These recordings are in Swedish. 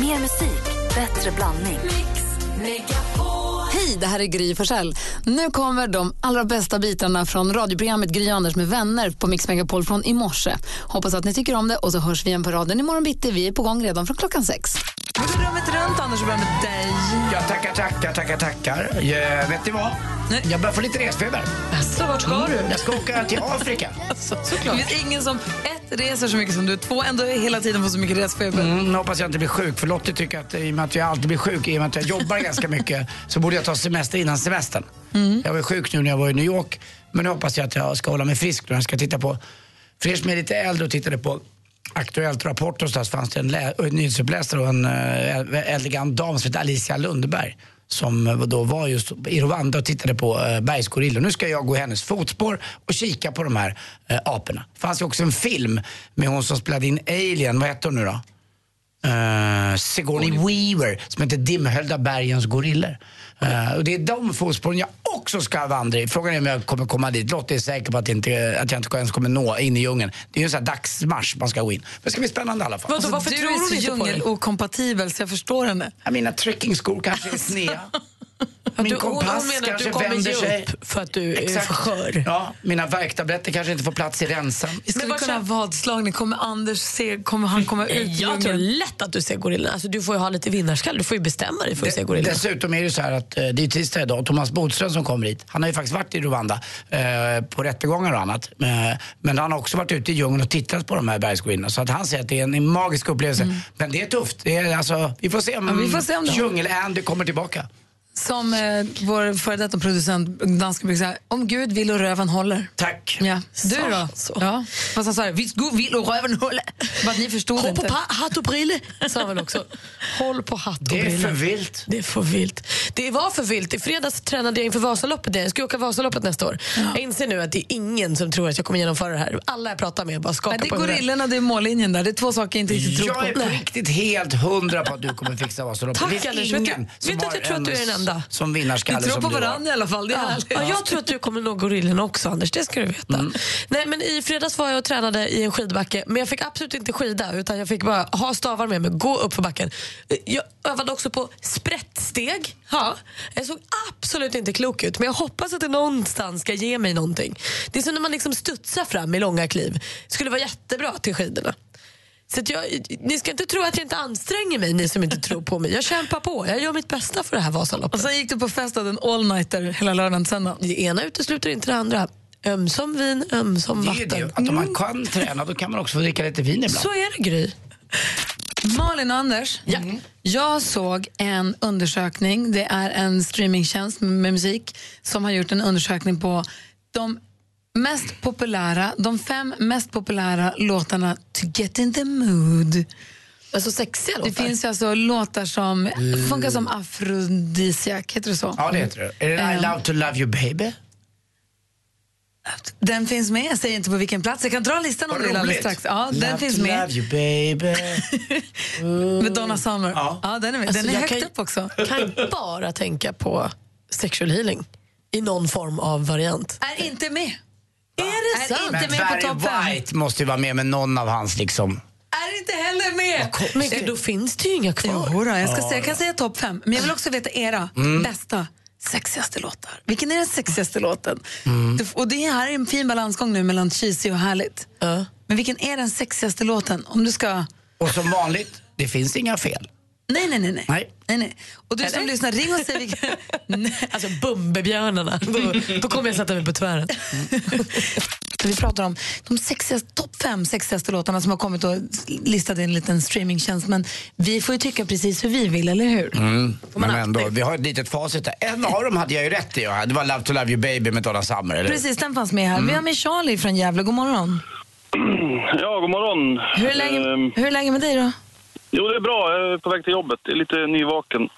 Mer musik, bättre blandning. Hej, det här är Gry Forssell. Nu kommer de allra bästa bitarna från radioprogrammet Gry Anders med vänner på Mix Megapol från i morse. Hoppas att ni tycker om det och så hörs vi igen på raden imorgon bitti. Vi är på gång redan från klockan sex. Vi går rummet runt, Anders, och börjar med dig. Ja, tackar, tackar, tackar, tackar. Jag, vet ni vad? Nej. Jag börjar få lite resfeber. Mm, Så vart ska du? Alltså, Jag ska åka till Afrika. Det finns ingen som ett reser så mycket som du, två ändå hela tiden får så mycket resfeber. Mm, nu hoppas jag inte blir sjuk, för Lottie tycker att i och med att jag alltid blir sjuk, i och med att jag jobbar ganska mycket, så borde jag ta semester innan semestern. Mm. Mm. Jag var sjuk nu när jag var i New York, men nu hoppas jag att jag ska hålla mig frisk när jag ska titta på, för er som är lite äldre och tittade på Aktuellt Rapport och så där, så fanns det en, lä- en nyhetsuppläsare och en eh, elegant dam som hette Alicia Lundberg som eh, då var just i Rwanda och tittade på eh, bergsgorillor. Nu ska jag gå i hennes fotspår och kika på de här eh, aporna. Det fanns ju också en film med hon som spelade in Alien, vad heter hon nu då? Eh, Sigourney Weaver som heter Dimhöljda bergens gorillor. Eh, och det är de fotspåren jag också ska vandra i. Frågan är om jag kommer komma dit. Lottie är säker på att, inte, att jag inte ens kommer nå in i djungeln. Det är ju en sån här dagsmarsch man ska gå in. Men det ska bli spännande i alla fall. Alltså, varför du tror hon är så inte på dig? djungelokompatibel så jag förstår henne. Ja, Mina trekkingskor kanske är sneda. Du, Min hon, hon kompass menar att du kanske kommer vänder ge sig. upp för att du är Exakt. för skör. Ja, mina värktabletter kanske inte får plats i rensan. Vi skulle vad kunna ha känner- vadslagning. Kommer Anders se, kommer han komma ut i Jag tror djungeln? lätt att du ser gorillorna. Alltså, du får ju ha lite vinnarskalle. Du får ju bestämma dig för att se gorillorna. Dessutom är det ju så här att eh, det är tisdag idag och Thomas Bodström som kommer hit, han har ju faktiskt varit i Rwanda eh, på rättegångar och annat. Eh, men han har också varit ute i djungeln och tittat på de här bergsgorinnarna. Så att han säger att det är en magisk upplevelse. Men det är tufft. Det är, alltså, vi får se om, vi får se om det- djungel-Andy kommer tillbaka. Som eh, vår före detta producent danska brukar säga, om Gud vill och röven håller. Tack. Ja. Du då? Så. Ja. Fast han sa det, visst Gud vill och röven håller. Bara att ni förstod Håll på inte. pa- hatt och brille, sa han väl också. Håll på hatt och Det är brille. för vilt. Det är för vilt. Det var för vilt. I fredags tränade jag inför Vasaloppet. igen. Jag ska ju åka Vasaloppet nästa år. Jag inser nu att det är ingen som tror att jag kommer genomföra det här. Alla jag pratar med bara Nej, skakar det är på huvudet. gorillorna, det är mållinjen där. Det är två saker jag inte riktigt tror på. Jag är på riktigt helt hundra på att du kommer fixa Vasaloppet. Tack, Det finns Anders. Vet du- ingen som vet du att har jag tror att du är den enda? Som Vi vinnarskalle tror som på du har. varandra i alla fall. Det är Ja. härligt. Ja, jag tror att du kommer nå gorillorna också Anders, det ska du veta. Nej, men I fredags var jag och tränade i en skidbacke men jag fick absolut inte skida utan jag fick bara ha stavar med mig, gå upp för backen. Jag övade också på sprättsteg. Ja. Jag såg absolut inte klok ut men jag hoppas att det någonstans ska ge mig någonting. Det är som när man liksom studsar fram i långa kliv. Det skulle vara jättebra till skidorna. Så att jag, ni ska inte tro att jag inte anstränger mig, ni som inte tror på mig. Jag kämpar på, jag gör mitt bästa för det här Vasaloppet. Och sen gick du på fest och hade en all-nighter hela lördagen till söndagen. Det ena utesluter inte det andra. Ömsom vin, ömsom Det är ju vatten. det, att om man kan träna då kan man också få dricka lite vin ibland. Så är det Gry. Malin och Anders, Mm. Ja. jag såg en undersökning. Det är en streamingtjänst med musik som har gjort en undersökning på de mest populära, de fem mest populära låtarna to get in the mood. Alltså sexiga Det finns ju alltså låtar som funkar som afrodisiak, heter det så? Ja, det heter det. Är det I Ehm. love to love you baby? Den finns med, jag säger inte på vilken plats. Jag kan dra listan om Vad du vill alldeles roligt. strax. Ja, den Love finns to med Love you baby. med Donna Summer. Ja. Ja. den är med. Alltså, Den är jag högt kan- upp också. Kan Mm. bara tänka på sexual healing i någon form av variant. Är inte med. Är det sant? Men med på topp fem. Barry White måste ju vara med med någon av hans liksom. Är inte heller med. Men gud, då finns det ju inga kvar. Jodå, jag, ska säga, jag kan säga topp fem, men jag vill också veta era Mm. bästa sexigaste låtar. Vilken är den sexigaste låten? Mm. Det- Och det här är en fin balansgång nu mellan cheesy och härligt. Ja. Men vilken är den sexigaste låten? Om du ska... Och som vanligt, det finns inga fel. Nej, nej, nej. nej. Nej. nej, nej. Och du som lyssnar, ring och säg vilken... Nej. Alltså Bumbibjörnarna, då, då kommer jag sätta mig på tvären. Vi pratar om de sexigaste, topp fem sexigaste låtarna som har kommit och listat i en liten streamingtjänst. Men vi får ju tycka precis hur vi vill, eller hur? Men ändå, vi har ett litet facit där. En av dem hade jag ju rätt i. ja. Det var Love to love you baby med Donna Summer, eller hur? Precis, den fanns med här. Vi Mm. har med Charlie från Gävle. God morgon. Mm. Ja, god morgon. Hur är, läge, Ehm, hur är läget med dig då? jo, det är bra. Jag är på väg till jobbet. Jag är lite nyvaken.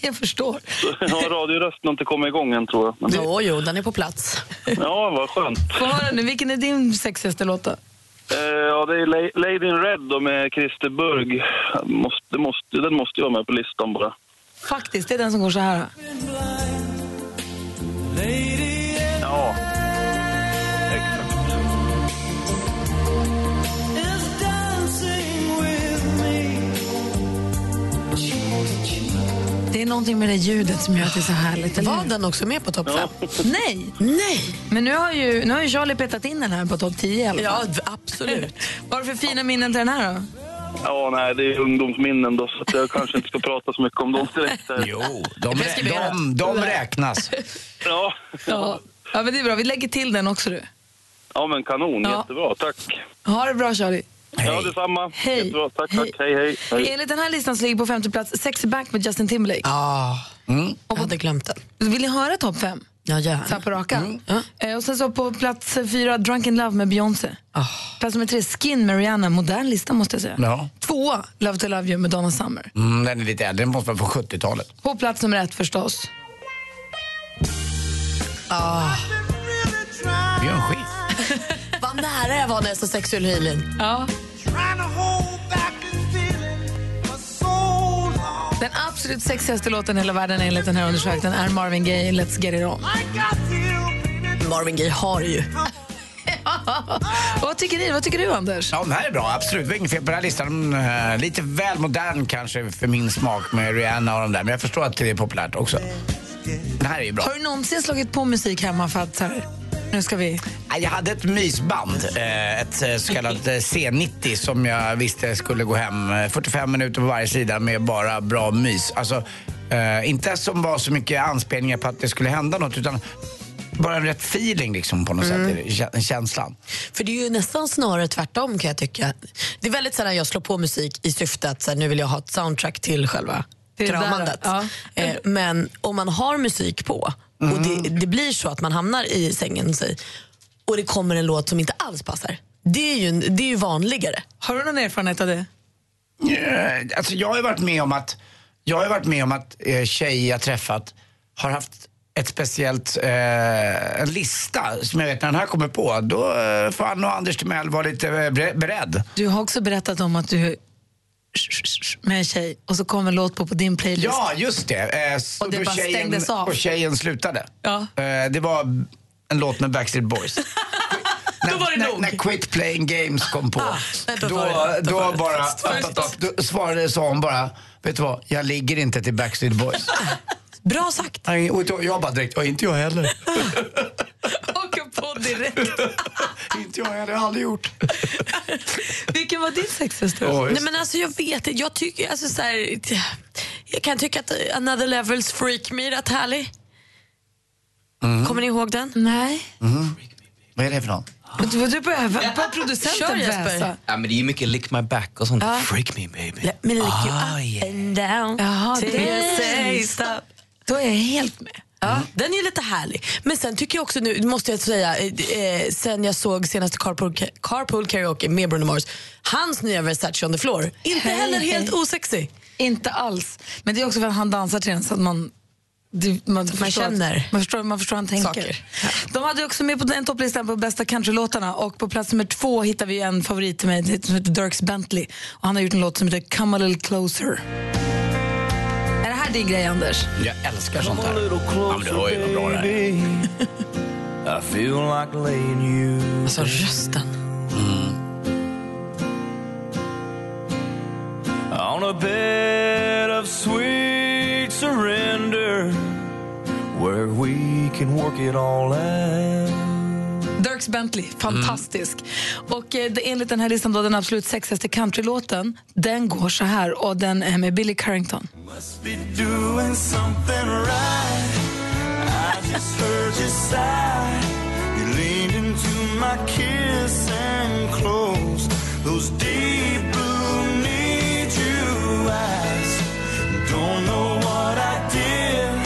jag förstår. Jag har radiorösten har inte kommit igång än, tror jag. Men, Jo, jo, den är på plats. ja, vad skönt. Få höra nu, vilken är din sexigaste låt då? Eh, ja, det är La- Lady in Red då med Christer Burg. Måste, måste, den måste ju vara med på listan bara. Faktiskt, det är den som går så här. Ja. Exakt. Det är någonting med det ljudet som gör att det är så härligt. Eller? Var hur? den också med på topp fem? Nej! Nej! Men nu har, ju, nu har ju Charlie petat in den här på topp 10 i alla fall. Ja, d- absolut. Vad är det för fina minnen till den här då? Ja, nej, det är ungdomsminnen då, så att jag kanske inte ska prata så mycket om dem direkt. Här. Jo, de, rä- de, de räknas. Ja. Ja. ja, men det är bra. Vi lägger till den också du. ja, men kanon. Ja. Jättebra. Tack. Ha det bra Charlie. Ja, detsamma. Hej. Jättebra. Tack, Hej. tack. Hej, hej. hej. Enligt den här listan så ligger på femte plats Sexy Back med Justin Timberlake. Ah, Mm. jag hade glömt den. Vill ni höra topp fem? Ja, Så här gärna. på rakan. Eh, Och sen så på plats fyra Drunk in Love med Beyoncé. Ah. Plats nummer tre Skin med Rihanna. Modern lista måste jag säga. Ja. Tvåa Love to Love You med Donna Summer. Mm, den är lite äldre, den måste vara från 70-talet. På plats nummer ett förstås. Ah. Björn Skifs. Vad nära jag var när jag sa sexuell healing. Ja. Den absolut sexigaste låten i hela världen enligt den här undersökningen är Marvin Gaye, Let's Get It On. Marvin Gaye har ju. Och vad tycker ni? Vad tycker du, Anders? Ja, den här är bra, absolut. Det var inget fel på den här listan. Eh, Lite väl modern kanske för min smak med Rihanna och de där. Men jag förstår att det är populärt också. Den här är ju bra. Har du någonsin slagit på musik hemma för att så här, nu ska vi... Nej, Jag hade ett mysband, eh, ett eh, så kallat eh, C90 som jag visste skulle gå hem eh, 45 minuter på varje sida med bara bra mys. Alltså, eh, inte som var så mycket anspelningar på att det skulle hända något utan bara en rätt feeling liksom på något sätt, kä- känslan. För det är ju nästan snarare tvärtom kan jag tycka. Det är väldigt sällan jag slår på musik i syfte att så här, nu vill jag ha ett soundtrack till själva Till det där, kramandet. ja. Eh, men om man har musik på och det, Mm. det blir så att man hamnar i sängen säg, och det kommer en låt som inte alls passar. Det är ju, en- det är ju vanligare. Har du någon erfarenhet av det? Eh, Alltså, jag har ju varit med om att, jag har ju varit med om att eh, tjejer jag träffat har haft ett speciellt, eh, en lista som jag vet när den här kommer på, då eh, får Anna och Anders Timell vara lite eh, bere- beredd. Du har också berättat om att du med en tjej och så kom en låt på, på din playlist. Ja, just det. Eh, så Och det då bara stängdes av. Och tjejen slutade. Ja. Eh, det var en låt med Backstreet Boys. när, då var det när, nog. när Quit Playing Games kom på, Ah, nej, då, då då, var det- då var det bara, fest. Förstås. då svarade sa hon bara, vet du vad, jag ligger inte till Backstreet Boys. Bra sagt. Nej, och då- jag bara direkt, "Ja, inte jag heller. Och på direkt. inte jag heller, jag har aldrig gjort. Vilken var din sexigaste? Oj. Nej, men alltså, jag vet inte. jag tycker alltså, så här, Jag kan tycka att eh, Another Levels Freak Me är rätt härlig. Kommer ni ihåg den? Nej. Mm. Vad är det för någon? Men Du, du börjar börjar producenten Kör, Jesper. väsa. Ja, men det är ju mycket lick my back och sånt. Freak me baby. Let me lick you Ah, up yeah. and down Jaha, till det- you say stop. Då är jag helt med. Ja, Mm. Den är lite härlig. Men sen tycker jag också nu, måste jag säga, eh, eh, sen jag såg senaste Carpool, Ca- Carpool Karaoke med Bruno Mars, hans nya Versace on the floor, inte Hej, heller hej. helt osexig. Inte alls. Men det är också för att han dansar till den så att man det, man, förstår känner Att, man, förstår, man förstår hur han tänker. saker. De hade också med på den topplistan på bästa countrylåtarna och på plats nummer två hittar vi en favorit till mig det- som heter Dirks Bentley. Och han har gjort en låt som heter Come a little closer. Är det här din grej, Anders? Jag älskar sånt här. Ja, men du hör ju vad bra det här är. I feel like laying you. Mm. Alltså rösten. On a bed of sweet surrender Where we can work it all out Dirks Bentley, fantastisk. Och eh, det, enligt den här listan, då, den absolut sexigaste countrylåten, den går så här och den är med Billy Carrington. Must be doing something right I just heard you sigh You leaned into my kiss and closed Those deep blue need you eyes Don't know what I did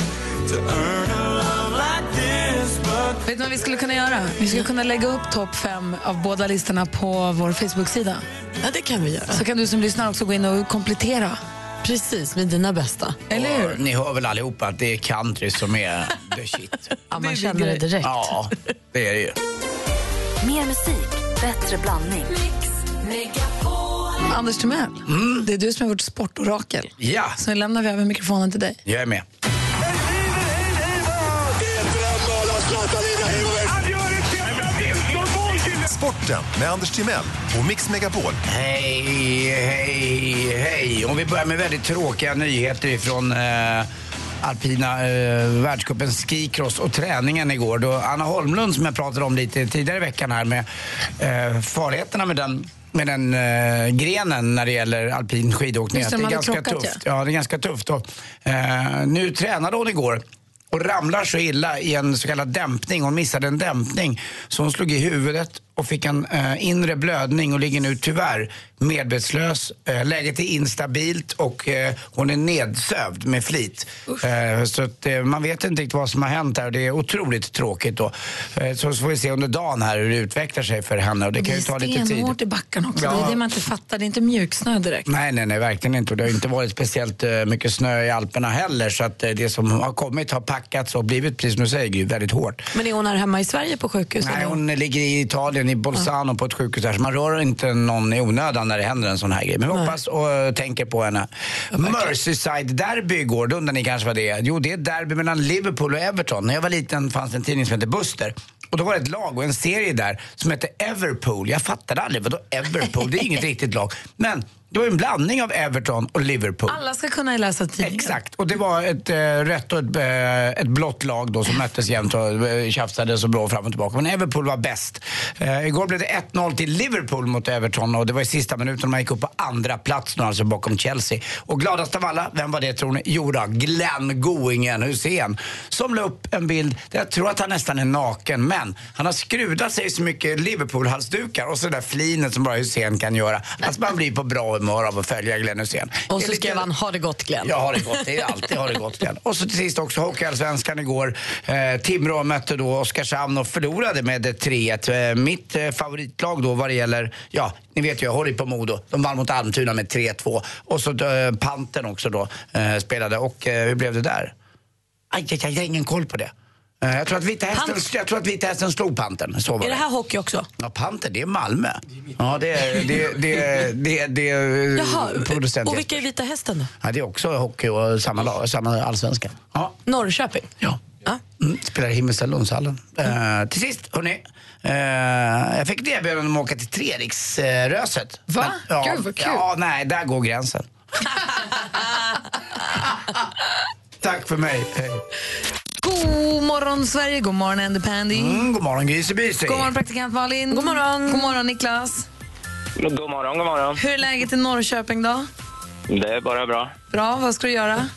To earn a love like this But Vet ni vad vi skulle kunna göra? Vi skulle kunna lägga upp topp fem av båda listorna på vår Facebook-sida. Ja, det kan vi göra. Så kan du som lyssnar också gå in och komplettera. Precis, med dina bästa. Eller hur? Ni hör väl allihopa att det är country som är the shit. Ja, Det är man din känner det grej. direkt. Ja, det är det ju. Mer musik, bättre blandning. Anders Timell, det är du som är vårt sportorakel. Mm. Ja, Så nu lämnar vi över mikrofonen till dig. jag är med. Sporten med Anders Timell och Mix Megapol. Hej, hej, hej. Om vi börjar med väldigt tråkiga nyheter ifrån eh, alpina eh, världscupen skicross och träningen igår. Då Anna Holmlund som jag pratade om lite tidigare i veckan här med eh, farligheterna med den med den eh, grenen när det gäller alpin skidåkning. Just det, Att de hade ganska krockat, tufft. Ja, det är ganska tufft. Och, eh, nu tränade hon igår och ramlar så illa i en så kallad dämpning. Hon missade en dämpning så hon slog i huvudet och fick en eh, inre blödning och ligger nu tyvärr medvetslös. Eh, läget är instabilt och eh, hon är nedsövd med flit. Eh, så att, eh, man vet inte riktigt vad som har hänt här och det är otroligt tråkigt då. Eh, så får vi se under dagen här hur det utvecklar sig för henne och det, kan ju ta lite tid. stenhårt i backen också. Ja. Det är det man inte fattar. Det är inte mjuksnö direkt. Nej, nej, nej, verkligen inte. Och Det har inte varit speciellt eh, mycket snö i Alperna heller. Så att eh, det som har kommit har packats och blivit, precis som du säger, Gud, väldigt hårt. Men är hon här hemma i Sverige på sjukhus? Nej, eller? hon ligger i Italien, i Bolzano, på ett sjukhus där. Så man rör inte någon i onödan när det händer en sån här grej. Men vi hoppas och eh, tänker på henne. Merseyside-derby igår, då undrar ni kanske vad det är? Jo, det är ett derby mellan Liverpool och Everton. När jag var liten fanns det en tidning som hette Buster. Och då var det ett lag och en serie där som hette Everpool. Jag fattade aldrig, vadå Everpool? Det är inget riktigt lag. Men det var ju en blandning av Everton och Liverpool. Alla ska kunna läsa tidningen. Exakt, och det var ett eh, rött och ett, eh, ett blått lag då som möttes jämt och eh, tjafsades och bra fram och tillbaka. Men Liverpool var bäst. Eh, igår blev det 1-0 till Liverpool mot Everton och det var i sista minuten man gick upp på andra plats nu, alltså bakom Chelsea. Och gladast av alla, vem var det tror ni? Jo då, Glenn Goingen Hussein som la upp en bild där jag tror att han nästan är naken men han har skruvat sig så mycket Liverpool-halsdukar och så det där flinet som bara Hussein kan göra. Alltså man blir på bra humör av att följa Glenn Hussein. Och Det är så lite- skrev han, ha det gott Glenn. Ja, har det gått. Det är alltid har det gått igen. Och så till sist också Hockeyallsvenskan igår. Eh, Timrå mötte då Oskarshamn och förlorade med 3-1. Eh, mitt eh, favoritlag då vad det gäller, ja, ni vet ju, jag håller ju på Modo. De vann mot Almtuna med 3-2. Och så eh, Panten också då eh, spelade. Och eh, hur blev det där? Aj, aj, aj, jag har ingen koll på det. Eh, jag, tror att Vita hästen, Pant- jag tror att Vita hästen slog Panten. Så var Är det det. här hockey också? Ja, Panten, det är Malmö. Ja, det är... Det, det, det, det, är Jaha, Eh, producent och vilka är Vita Hästen då? Ja, det är också hockey och samma, lag, samma allsvenska. Ja. Norrköping? ja. Ja. Mm, spelar i Himmelstalundshallen. Eh, till sist, hörni. Eh, jag fick ett erbjudande om att åka till Treriksröset. Va? Men, ja, Gud, vad kul. Ja, nej, där går gränsen. Tack för mig. Hej. God morgon Sverige, god morgon Andy Pandy. Mm, god morgon, Gysebysy. God morgon praktikant Malin. God morgon. God morgon Niklas. God morgon, god morgon. Hur är läget i Norrköping då? Det är bara bra. Bra, vad ska du göra?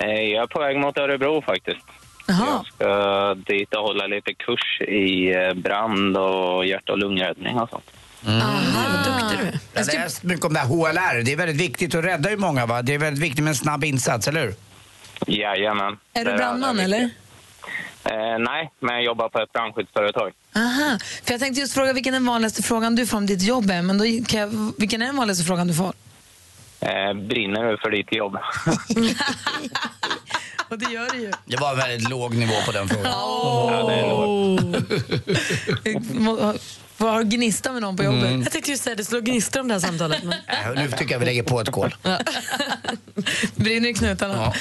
Eh, Jag är på väg mot Örebro faktiskt. Jaha. Jag ska dit och hålla lite kurs i eh, brand och hjärt och lungräddning och sånt. Jag har läst mycket om det här HLR. Det är väldigt viktigt att rädda ju många, va? Det är väldigt viktigt med en snabb insats, eller hur? Jajamän. Är Det du brandman allra eller? viktigaste. Eh, nej, men jag jobbar på ett brandskyddsföretag. Aha. För jag tänkte just fråga vilken den vanligaste frågan du får om ditt jobb är, men då kan jag, vilken är den vanligaste frågan du får? Eh, brinner du för ditt jobb? Och det gör det ju. Det var en väldigt låg nivå på den frågan. Ja, det är lågt. Vad har gnista med någon på jobbet? Jag tänkte just säga det, slår gnistor om det här samtalet. Men... Eh, Mm. Nu tycker jag vi lägger på ett kol. Brinner i knutarna. Ja.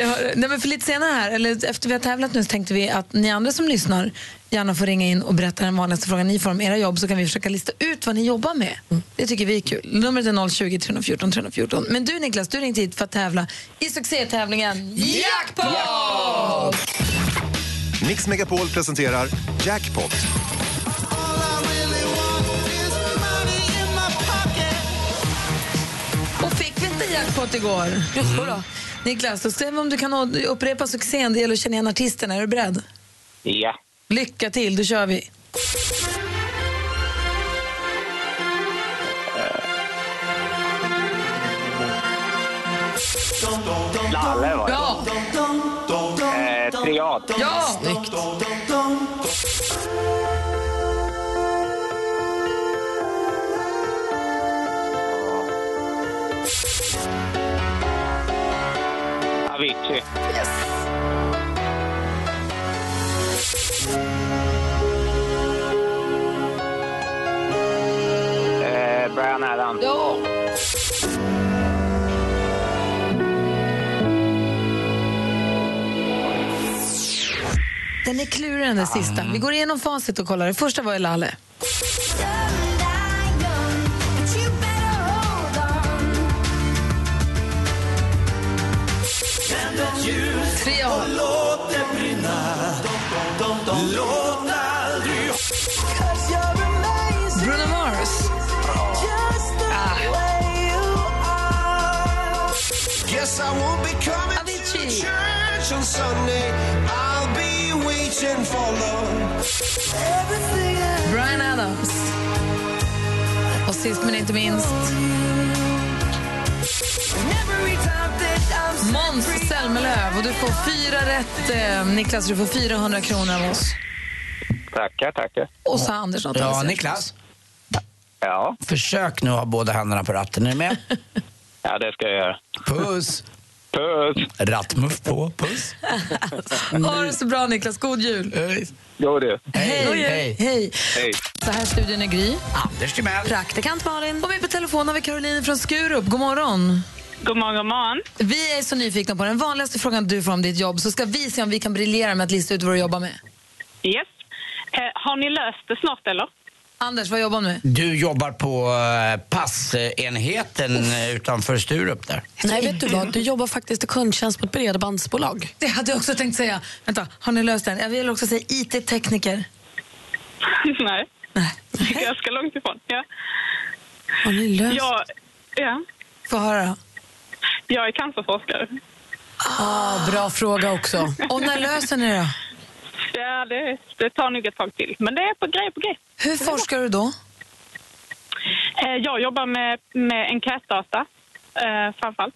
Ja. Nej, men för lite senare här, eller efter vi har tävlat nu så tänkte vi att ni andra som lyssnar gärna får ringa in och berätta den vanligaste frågan ni får om era jobb så kan vi försöka lista ut vad ni jobbar med. Det tycker vi är kul. Numret är 020 314 314. Men du Niklas, du ringde hit för att tävla i succétävlingen Jackpot! Mix Megapol presenterar Jackpot. Och fick vi inte jackpot igår? Jo då. Niklas, då ska vi om du kan å- upprepa succén. Det gäller att känna igen artisterna. Är du beredd? Ja. Lycka till, då kör vi. Lalle var det. Ja! Eh, triad. Ja! Avicii. Eh, Brian Adams. Ja! Den är klurig den där sista. Vi går igenom facit och kollar. Det första var ju Lalle. And that you Ah. I won't be coming Avicii. to church on Sunday. I'll be waiting for love. Everything I Brian Adams. Och sist men inte minst... Måns Zelmerlöw. Och du får fyra rätt, eh, Niklas. Du får 400 kronor av oss. Tackar, tackar. Och så har Anders något Ja, att säga. Niklas. Ja, Försök nu ha båda händerna på ratten. Är ni med? ja det ska jag göra. Puss! Puss! Rattmuff på. Puss! Ha det så bra, Niklas. God jul. Mm. Eh, Hej! Jo, det. Hej! Hej. Ah. Hej. Hej. Så här i studion är Gry. Anders Timell. Praktikant Malin. Och med på telefon har vi Caroline från Skurup. God morgon. God morgon, god morgon. Vi är så nyfikna på den vanligaste frågan du får om ditt jobb så ska vi se om vi kan briljera med att lista ut vad du jobbar med. Yes. Eh, har ni löst det snart eller? Anders, vad jobbar du med? Du jobbar på eh, passenheten eh, utanför Sturup där. Nej, vet du vad? Du jobbar faktiskt i kundtjänst på ett bredbandsbolag. Det hade jag också tänkt säga. Vänta, har ni löst den? Jag vill också säga IT-tekniker. Nej, Nej. ganska långt ifrån. Ja. Har ni löst? Jag, ja. Få höra då. jag är cancerforskare. Ah, bra fråga också. Och när löser ni det då? Ja, det, det tar nog ett tag till, men det är på grej på grej. Hur forskar du då? Eh, jag jobbar med, med enkätdata eh, framförallt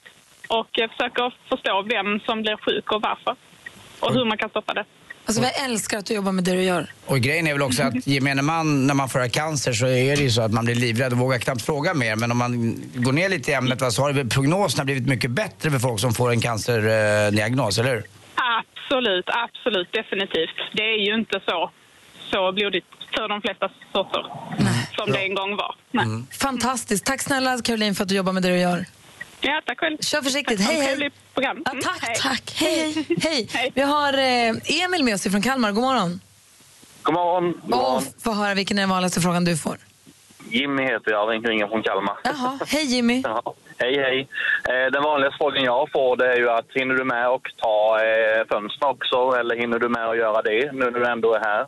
och eh, försöker förstå vem som blir sjuk och varför och hur man kan stoppa det. Alltså, Mm. jag älskar att du jobbar med det du gör. Och grejen är väl också att gemene man, när man får cancer så är det ju så att man blir livrädd och vågar knappt fråga mer. Men om man går ner lite i ämnet va, så har väl prognoserna blivit mycket bättre för folk som får en cancerdiagnos, eller hur? Absolut, absolut, definitivt. Det är ju inte så, så blodigt för de flesta sorter som det en gång var. Nej. Fantastiskt. Tack snälla Caroline för att du jobbar med det du gör. Ja, tack själv. Kör Tack försiktigt. för Hej, ett hej. trevligt program. Ja, Mm, tack, hej. tack. Hej, hej. hej. Hej. Vi har eh, Emil med oss från Kalmar. God morgon. God morgon. God Och morgon. få höra vilken är den vanligaste frågan du får. Jimmy heter jag, ringer från Kalmar. Jaha, hej Jimmy. Ja, hej, hej. Eh, Den vanligaste frågan jag får det är ju att hinner du med att ta eh, fönstren också eller hinner du med att göra det nu när du ändå är här?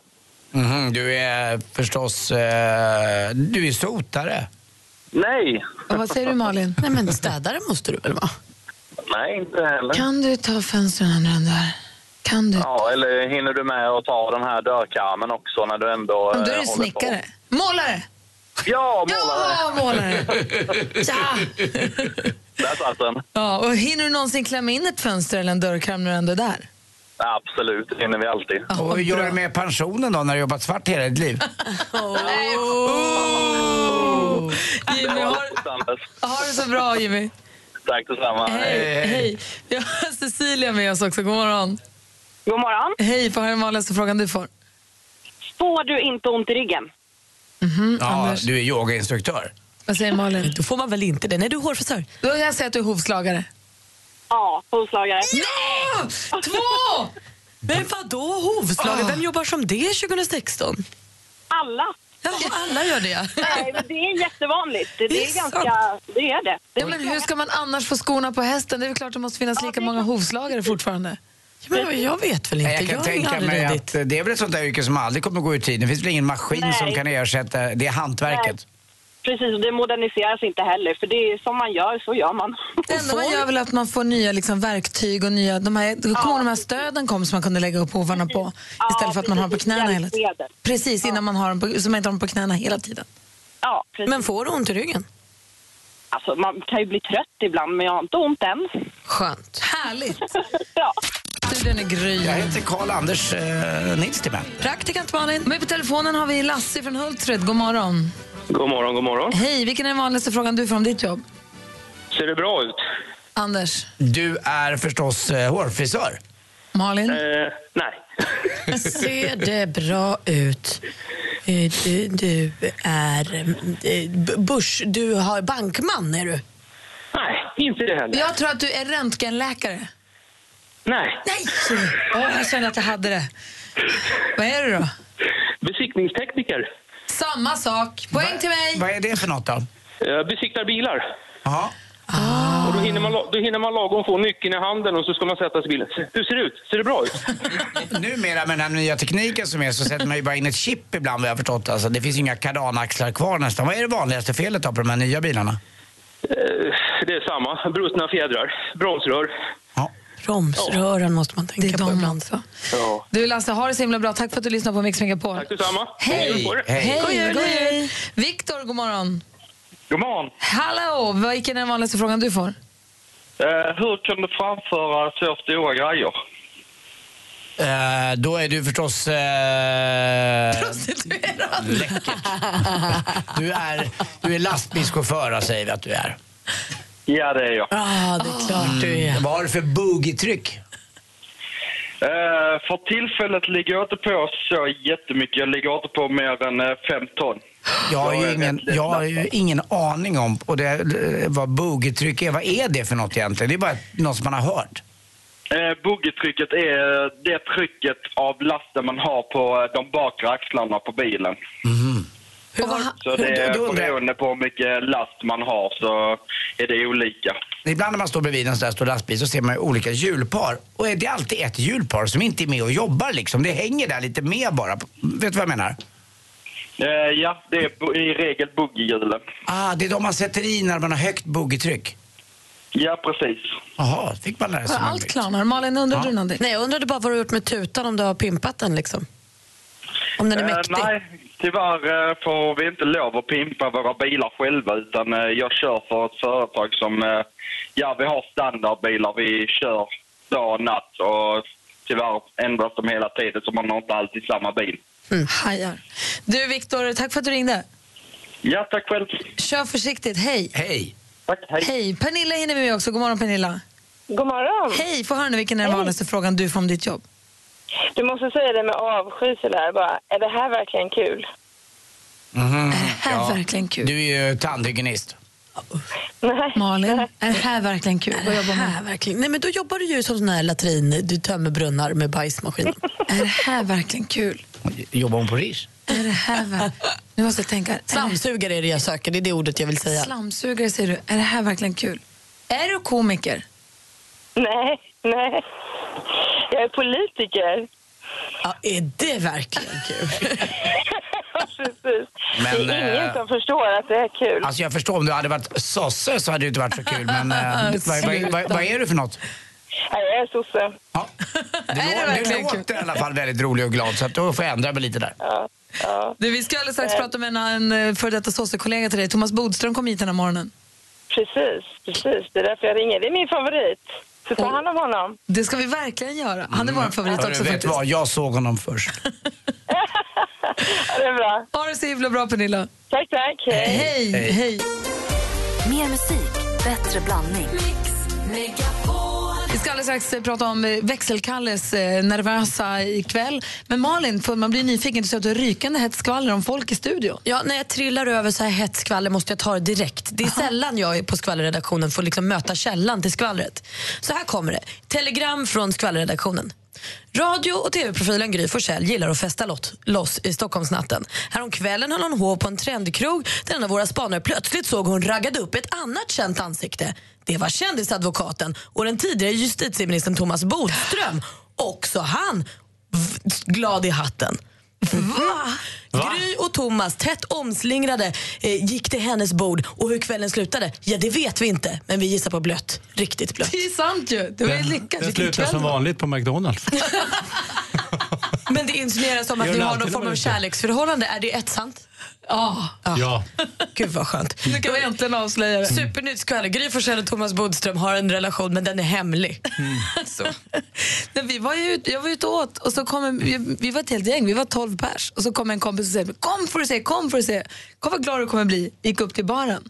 Mhm, du är förstås... Eh, du är sotare. Nej, Och vad säger du Malin? Nej, men städare måste du väl vara? nej inte heller. Kan du ta fönstren när du är Kan du? Ja, eller hinner du med att ta den här dörrkarmen också när du ändå Men då är eh, du håller snickare. Målare! På. Ja, målare! Ja, målare! Ja. Där satt den. ja! Och hinner du någonsin klämma in ett fönster eller en dörrkarm när du ändå är där? Absolut, det hinner vi alltid. och hur gör du med pensionen då när du jobbat svart hela ditt liv? Oh! Jimmy, har, Anders. har det så bra Jimmy. Tack detsamma. Hej, hej. Vi har Cecilia med oss också. God morgon. God morgon. Hej, få höra den vanligaste frågan du får. Får du inte ont i ryggen? ja, Anders. du är yogainstruktör. Vad säger Malin? Då får man väl inte det? Nej, du är hårfrisör. Då kan jag säga att du är hovslagare. Ja, hovslagare. Nej! Två! Men vadå hovslagare? Vem jobbar som det 2016? Alla. Ja, alla gör det. Nej, men det är jättevanligt. Det, Det är är ganska... Det är det. det Ja, men hur ska man annars få skorna på hästen? Det är väl klart det måste finnas lika många hovslagare fortfarande. Ja, Men jag vet väl inte. Jag kan har tänka aldrig mig ridit. att eh, det är väl ett sånt där yrke som aldrig kommer gå ur tiden. Det finns väl ingen maskin Nej. som kan ersätta det är hantverket. Precis, och det moderniseras inte heller. För det är som man gör, så gör man. Det enda man gör är väl att man får nya liksom, verktyg och nya... De här, ja. kommer de här stöden kom som man kunde lägga upp hovarna på Ja, istället för att man har på precis. knäna hela tiden. Hjälpmedel. Precis, innan man har dem på, så man inte har dem på knäna hela tiden. Ja, precis. Men får du ont i ryggen? Alltså, man kan ju bli trött ibland, men jag har inte ont än. Skönt. Härligt! Ja. Studion är gry. Jag heter Karl Anders eh, Nils Timell. Praktikant Malin. Med på telefonen har vi Lasse från Hultsfred. God morgon. God morgon, god morgon. Hej, vilken är den vanligaste frågan du får om ditt jobb? Ser det bra ut? Anders? Du är förstås eh, hårfrisör. Malin? Eh, nej. Ser det bra ut? Eh, Du, du är eh, b- börs... Du har bankman, är du? Nej, inte det heller. Jag tror att du är röntgenläkare. Nej. Nej! Åh, jag kände att jag hade det. Vad är det då? Besiktningstekniker. Samma sak. Poäng till mig. Vad är det för något då? Jag Eh, besiktar bilar. Jaha. Och då, hinner man, la- då hinner man lagom få nyckeln i handen och så ska man sätta sig i bilen. Se- Hur ser det ut? Ser det bra ut? Numera med den här nya tekniken som är så sätter man ju bara in ett chip ibland vad jag har förstått. Alltså, det finns ju inga kardanaxlar kvar nästan. Vad är det vanligaste felet då på de här nya bilarna? Eh, det är samma. Brustna fjädrar, bromsrör. Bromsrören måste man tänka på ibland. Ja. Du Lasse, ha det så himla bra. Tack för att du lyssnade på Mix Megapol. Tack detsamma. Hej! Hej. Hej! Hej. God jul! Hej. God jul. Viktor, god morgon. God morgon. Hallå! Vilken är den vanligaste frågan du får? Eh, hur kan du framföra så stora grejer? Eh, då är du förstås... Eh, Prostituerad! Läckert. Du är, du är lastbilschaufför, då, säger vi att du är. Ja, det är jag. Ja, Ah, det är klart du är. Mm. Vad har du för boogie-tryck? Eh, för tillfället ligger jag inte på så jättemycket. Jag ligger inte på mer än eh, fem ton. Jag har ju ingen, jag har ju ingen aning om och det, eh, vad boogie-tryck är. Vad är det för något egentligen? Det är bara något som man har hört. Eh, Bogeytrycket är det trycket av lasten man har på eh, de bakre axlarna på bilen. Ah, Så det är beroende på hur mycket last man har så är det olika. Ibland när man står bredvid en sån där stor lastbil så ser man ju olika hjulpar. Och det är alltid ett hjulpar som inte är med och jobbar liksom. Det hänger där lite med bara. Vet du vad jag menar? Eh, ja, det är bo- i regel boogiehjulen. Ah, det är de man sätter i när man har högt boogie-tryck. Ja, precis. Jaha, fick man lära sig. Allt klarnar. Malin, undrar du någonting? Nej, jag undrade bara vad du har gjort med tutan, om du har pimpat den liksom. Om den är Eh, mäktig. nej, tyvärr eh, får vi inte lov att pimpa våra bilar själva utan eh, jag kör för ett företag som, eh, ja vi har standardbilar, vi kör dag och natt och tyvärr ändras de hela tiden så man har inte alltid samma bil. Mm. Hajar. Du Viktor, tack för att du ringde. Ja, tack själv. Kör försiktigt. Hej! Hej! Tack, hej. Hej! Pernilla hinner vi med också. God morgon Pernilla. God morgon. Hej! Få höra nu vilken är den vanligaste frågan du får om ditt jobb. Du måste säga det med avsky sådär bara. Är det här verkligen kul? Mhm, Äh, här verkligen kul? Du är ju tandhygienist. Malin, är det här verkligen kul? Vad jobbar man Här, verkligen. Nej, men då jobbar du ju som sån här latrin, du tömmer brunnar med bajsmaskinen. Är det här verkligen kul? Jobbar hon på RIS? Är det här ver- Nu måste jag tänka. Slamsugare är det jag söker, det är det ordet jag vill säga. Slamsugare säger du. Är det här verkligen kul? Är du komiker? Nej, nej. Jag är politiker. Ja, är det verkligen kul? Precis. Men, det är ingen eh, som förstår att det är kul. Alltså jag förstår om du hade varit sosse så hade det inte varit så kul. Men eh, vad, vad, vad, vad är du för något? Nej, jag är sosse. Du, lå- du låter i alla fall väldigt rolig och glad så att då får jag ändra mig lite där. Du, vi ska alldeles Eh. strax prata med en, en eh, före detta sossekollega till dig. Thomas Bodström kom hit den här morgonen. Precis, precis. Det är därför jag ringer. Det är min favorit. Så ta hand om honom. Det ska vi verkligen göra. Han är vår favorit Mm. Hörru, också vet faktiskt. vad, jag såg honom först. Ja, det är bra. Ha det så himla bra Pernilla. Tack, tack. Hej. Hej, hej. Hej. Mer musik, bättre blandning. Vi ska alldeles strax eh, prata om eh, växelkalles eh, nervösa ikväll. Men Malin, får man blir nyfiken. Du sa att du har rykande hett skvaller om folk i studion. Ja, när jag trillar över så här hett skvaller måste jag ta det direkt. Det är sällan jag på skvallerredaktionen får liksom möta källan till skvallret. Så här kommer det. Telegram från skvallerredaktionen. Radio och tv-profilen Gry Forssell gillar att festa lot- loss i Stockholmsnatten. Häromkvällen höll hon hov på en trendkrog där en av våra spanare plötsligt såg hon raggade upp ett annat känt ansikte. Det var kändisadvokaten och den tidigare justitieministern Thomas Bodström. Också han v- glad i hatten. Mm. Gry och Thomas, tätt omslingrade, eh, gick till hennes bord. Och hur kvällen slutade, ja det vet vi inte. Men vi gissar på blött. Riktigt blött. Det är sant ju. Det var ju lyckat. Det Vilken slutar kväll. som vanligt på McDonalds. Men det insinueras som Gör att ni det har alltid någon form när av man är ute. kärleksförhållande. Är det ett sant? Ah. Ja. Ja. Gud vad skönt. Nu kan vi äntligen avslöja det. Supernytt skvaller. Gry Forssell och Thomas Bodström har en relation men den är hemlig. Mm. Så. När vi var ju, ut- jag var ute och åt och så kom en, vi, vi var ett helt gäng, vi var 12 pers. Och så kom en kompis och sa kom får du se, kom får du se. Kom vad glad du kommer bli. Gick upp till baren.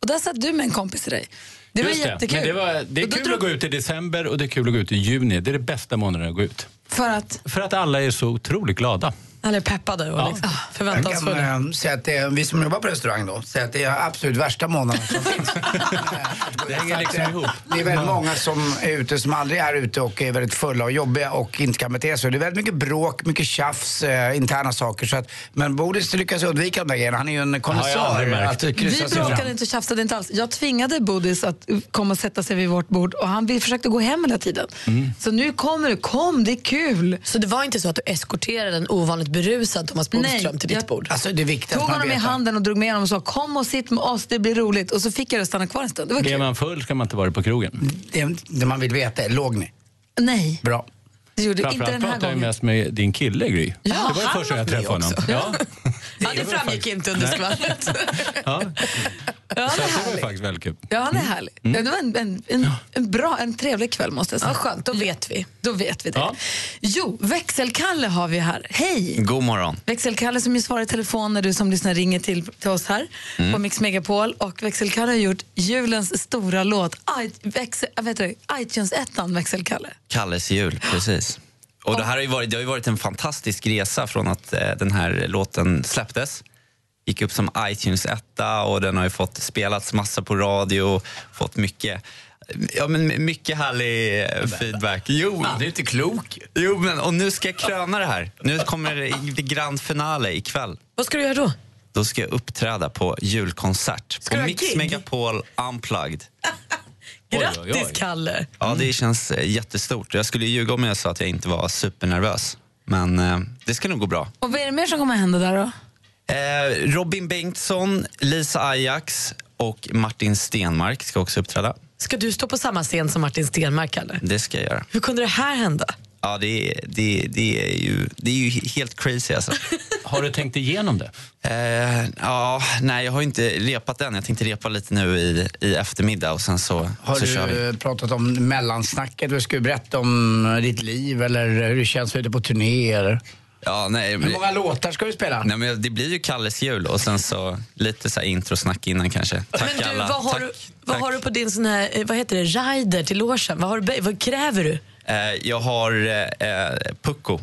Och där satt du med en kompis till dig. Det var Just jättekul. Men det, var, det är Och då kul drog- att gå ut i december och det är kul att gå ut i juni. Det är det bästa månaden att gå ut. För att? För att alla är så otroligt glada. Alla är peppade och liksom Jag kan förväntansfulla. eh, säga att det, är- vi som jobbar på restaurang då, säger att det är absolut värsta månaden som finns. Det hänger Så att, liksom eh, ihop. Det är väldigt många som är ute som aldrig är ute och är väldigt fulla och jobbiga och inte kan bete sig. Det är väldigt mycket bråk, mycket tjafs, eh, interna saker. Så att, men Bodis lyckas undvika de där grejerna. Han är ju en konnässör att kryssa Vi sig fram. bråkade inte och tjafsade inte alls. Jag tvingade Bodis att komma och sätta sig vid vårt bord och han vi försökte gå Mm. hem hela tiden. Så nu kommer du, kom, det är kul. Så det var inte så att du eskorterade en ovanligt berusad Thomas Bodström till ditt bord? Alltså det är viktigt Tog att man honom i vet att- handen och drog med honom och sa kom och sitt med oss, det blir roligt. Och så fick jag det att stanna kvar en stund. Det var Blev kul. man full ska man inte vara på krogen. Det, det man vill veta är, låg ni? Nej, Bra. det gjorde inte Framförallt den här pratade jag gången. mest med din kille Gry. Ja, det var det han första var jag träffade med honom. också. Ja, Ja, det framgick inte under Nej. skvallret. ja. Ja, Så han är det var härlig. faktiskt väldigt kul. Ja, han är härlig. Mm. Ja, Det var en, en, en, en bra, en trevlig kväll måste jag säga. Ja, skönt, då vet vi. Då vet vi det. Jo, växelkalle har vi här. Hej! God morgon. Växelkalle som ju svarar i telefon när du som lyssnar ringer till, till oss här Mm. på Mix Megapol. Och Växelkalle har gjort julens stora låt, I, växel, äh, vet du, Itunes-ettan Växelkalle. Kalles jul, precis. Och det, här har ju varit, det har ju varit en fantastisk resa från att eh, den här låten släpptes. Gick upp som iTunes etta och den har ju fått spelats massa på radio, fått mycket Ja, men mycket härlig eh, feedback. Jo, du är inte klok. Jo, men, och nu ska jag kröna det här. Nu kommer det i- det grand finale ikväll. Vad ska du göra då? Då ska jag uppträda på julkonsert Ska du på ha Mix gig? Megapol Unplugged. Grattis Kalle! Ja, det känns eh, jättestort. Jag skulle ljuga om jag sa att jag inte var supernervös. Men eh, det ska nog gå bra. Och vad är det mer som kommer att hända där då? Eh, Robin Bengtsson, Lisa Ajax och Martin Stenmark ska också uppträda. Ska du stå på samma scen som Martin Stenmark, Kalle? Det ska jag göra. Hur kunde det här hända? Ja, det, är- det, det, är, ju, det är ju helt crazy alltså. Har du tänkt igenom det? Eh, ja, nej, jag har inte repat än. Jag tänkte repa lite nu i, i eftermiddag och sen så, Har så kör vi. du eh, pratat om mellansnacket? Du ska ju berätta om eh, ditt liv eller hur det känns ute på turné. Eller? Ja, nej, men- Hur många låtar ska du spela? Nej, men det blir ju Kalles jul och sen så lite så här introsnack innan kanske. Tack Men du, alla. vad har, Tack. du, vad har du på din sån här, eh, vad heter det, rider till logen? Vad, har du, vad kräver du? Eh, jag har eh, eh, pucko.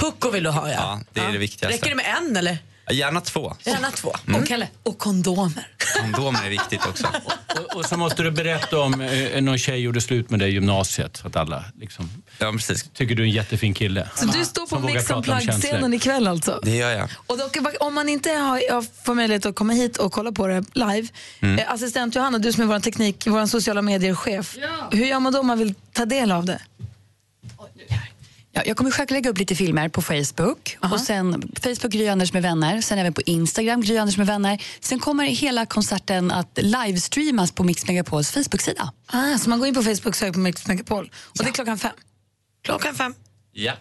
Pucko vill du ha ja. Ja, det är det viktigaste. Räcker det med en eller? Gärna två. Gärna två. Mm. Och Kalle? Och kondomer. Kondomer är viktigt också. Och, och så måste du berätta om eh, någon tjej gjorde slut med dig i gymnasiet. Så att alla liksom, tycker du är en jättefin kille. Så du står på Som vågar Mix prata om känslor. Plug-scenen ikväll alltså? Det gör jag. Och dock, om man inte har, jag får möjlighet att komma hit och kolla på det live. Mm. Eh, assistent Johanna, du som är vår teknik, vår sociala medier-chef. Hur gör man då om man vill ta del av det? Ja, jag kommer själv lägga upp lite filmer på Facebook. Och sen Facebook Gry Anders med vänner. Sen även på Instagram Gry Anders med vänner. Sen kommer hela konserten att livestreamas på Mix Megapols Facebook-sida. Ah, så man går in på Facebook och söker på Mix Megapol. Och det är klockan fem. Klockan fem. Ja.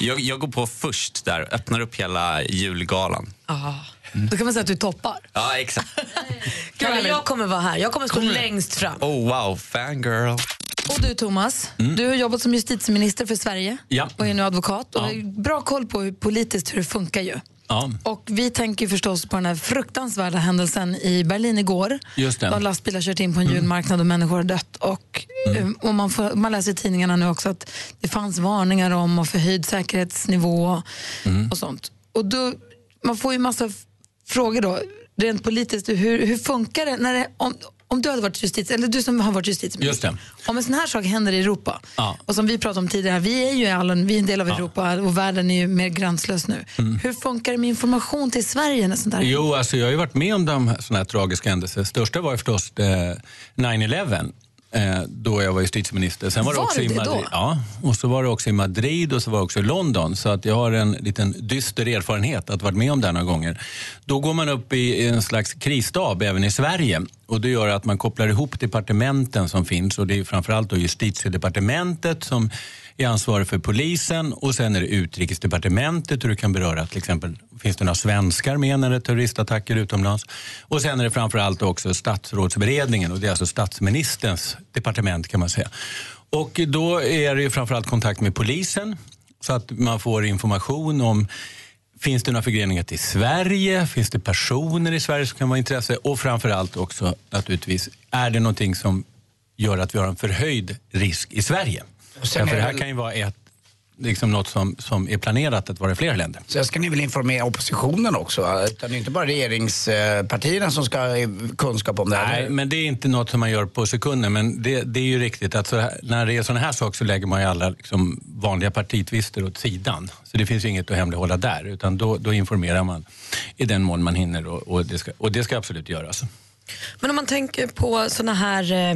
jag, jag går på först där och öppnar upp hela julgalan. Ah. Då kan man säga att du toppar. Ja, exakt. Kalle, jag kommer vara här. Jag kommer stå Kommer du? längst fram. Oh wow, fangirl. Och du Thomas, Mm. du har jobbat som justitieminister för Sverige Ja. och är nu advokat. Och Ja. har bra koll på hur politiskt hur det funkar ju. Ja, Och vi tänker förstås på den här fruktansvärda händelsen i Berlin igår. Just det. Mm. Då lastbilar kört in på en julmarknad och människor har dött. Och, eh, och man, får, man läser i tidningarna nu också att det fanns varningar om och förhöjd säkerhetsnivå och, och sånt. Och då, man får ju massa f- frågor då, rent politiskt. Hur, hur funkar det? När det om, om du hade varit justitie, eller du som har varit just justitieminister. det. Om en sån här sak händer i Europa, Ja. och som vi pratade om tidigare, vi är ju alla, vi är en del av Ja. Mm. Europa och världen är ju mer gränslös nu. Hur funkar det med information till Sverige när sånt där händer? Jo, alltså jag har ju varit med om de såna här tragiska händelser. Största var ju förstås eh, 9-11. eh, Då jag var justitieminister. Sen var, Var det också du i det Madrid. då? Ja, och så var det också i Madrid och så var det också i London. Så att jag har en liten dyster erfarenhet att ha varit med om det här några gånger. Då går man upp i en slags krisstab även i Sverige. Och det gör att man kopplar ihop departementen som finns. Och det är framförallt då justitiedepartementet som är ansvarig för polisen och sen är det utrikesdepartementet och det kan beröra till exempel finns det några svenskar med när det är terroristattacker utomlands? Och sen är det framförallt också statsrådsberedningen och det är alltså statsministerns departement kan man säga. Och då är det ju framförallt kontakt med polisen så att man får information om Finns det några förgreningar till Sverige? Finns det personer i Sverige som kan vara intresse? Och framförallt också naturligtvis, är det någonting som gör att vi har en förhöjd risk i Sverige? Och sen Därför det är det här väl- kan ju vara ett, liksom något som, som är planerat att vara i flera länder. Sen ska ni väl informera oppositionen också? va? Utan det är inte bara regeringspartierna som ska ha eh, kunskap om det här. Nej, men det är inte något som man gör på sekunden. Men det, det är ju riktigt att så här, när det är sådana här saker så lägger man ju alla liksom, vanliga partitvister åt sidan. Så det finns ju inget att hemlighålla där. Utan då, då informerar man i den mån man hinner och, och, det, ska, och det ska absolut göras. Men om man tänker på såna här eh,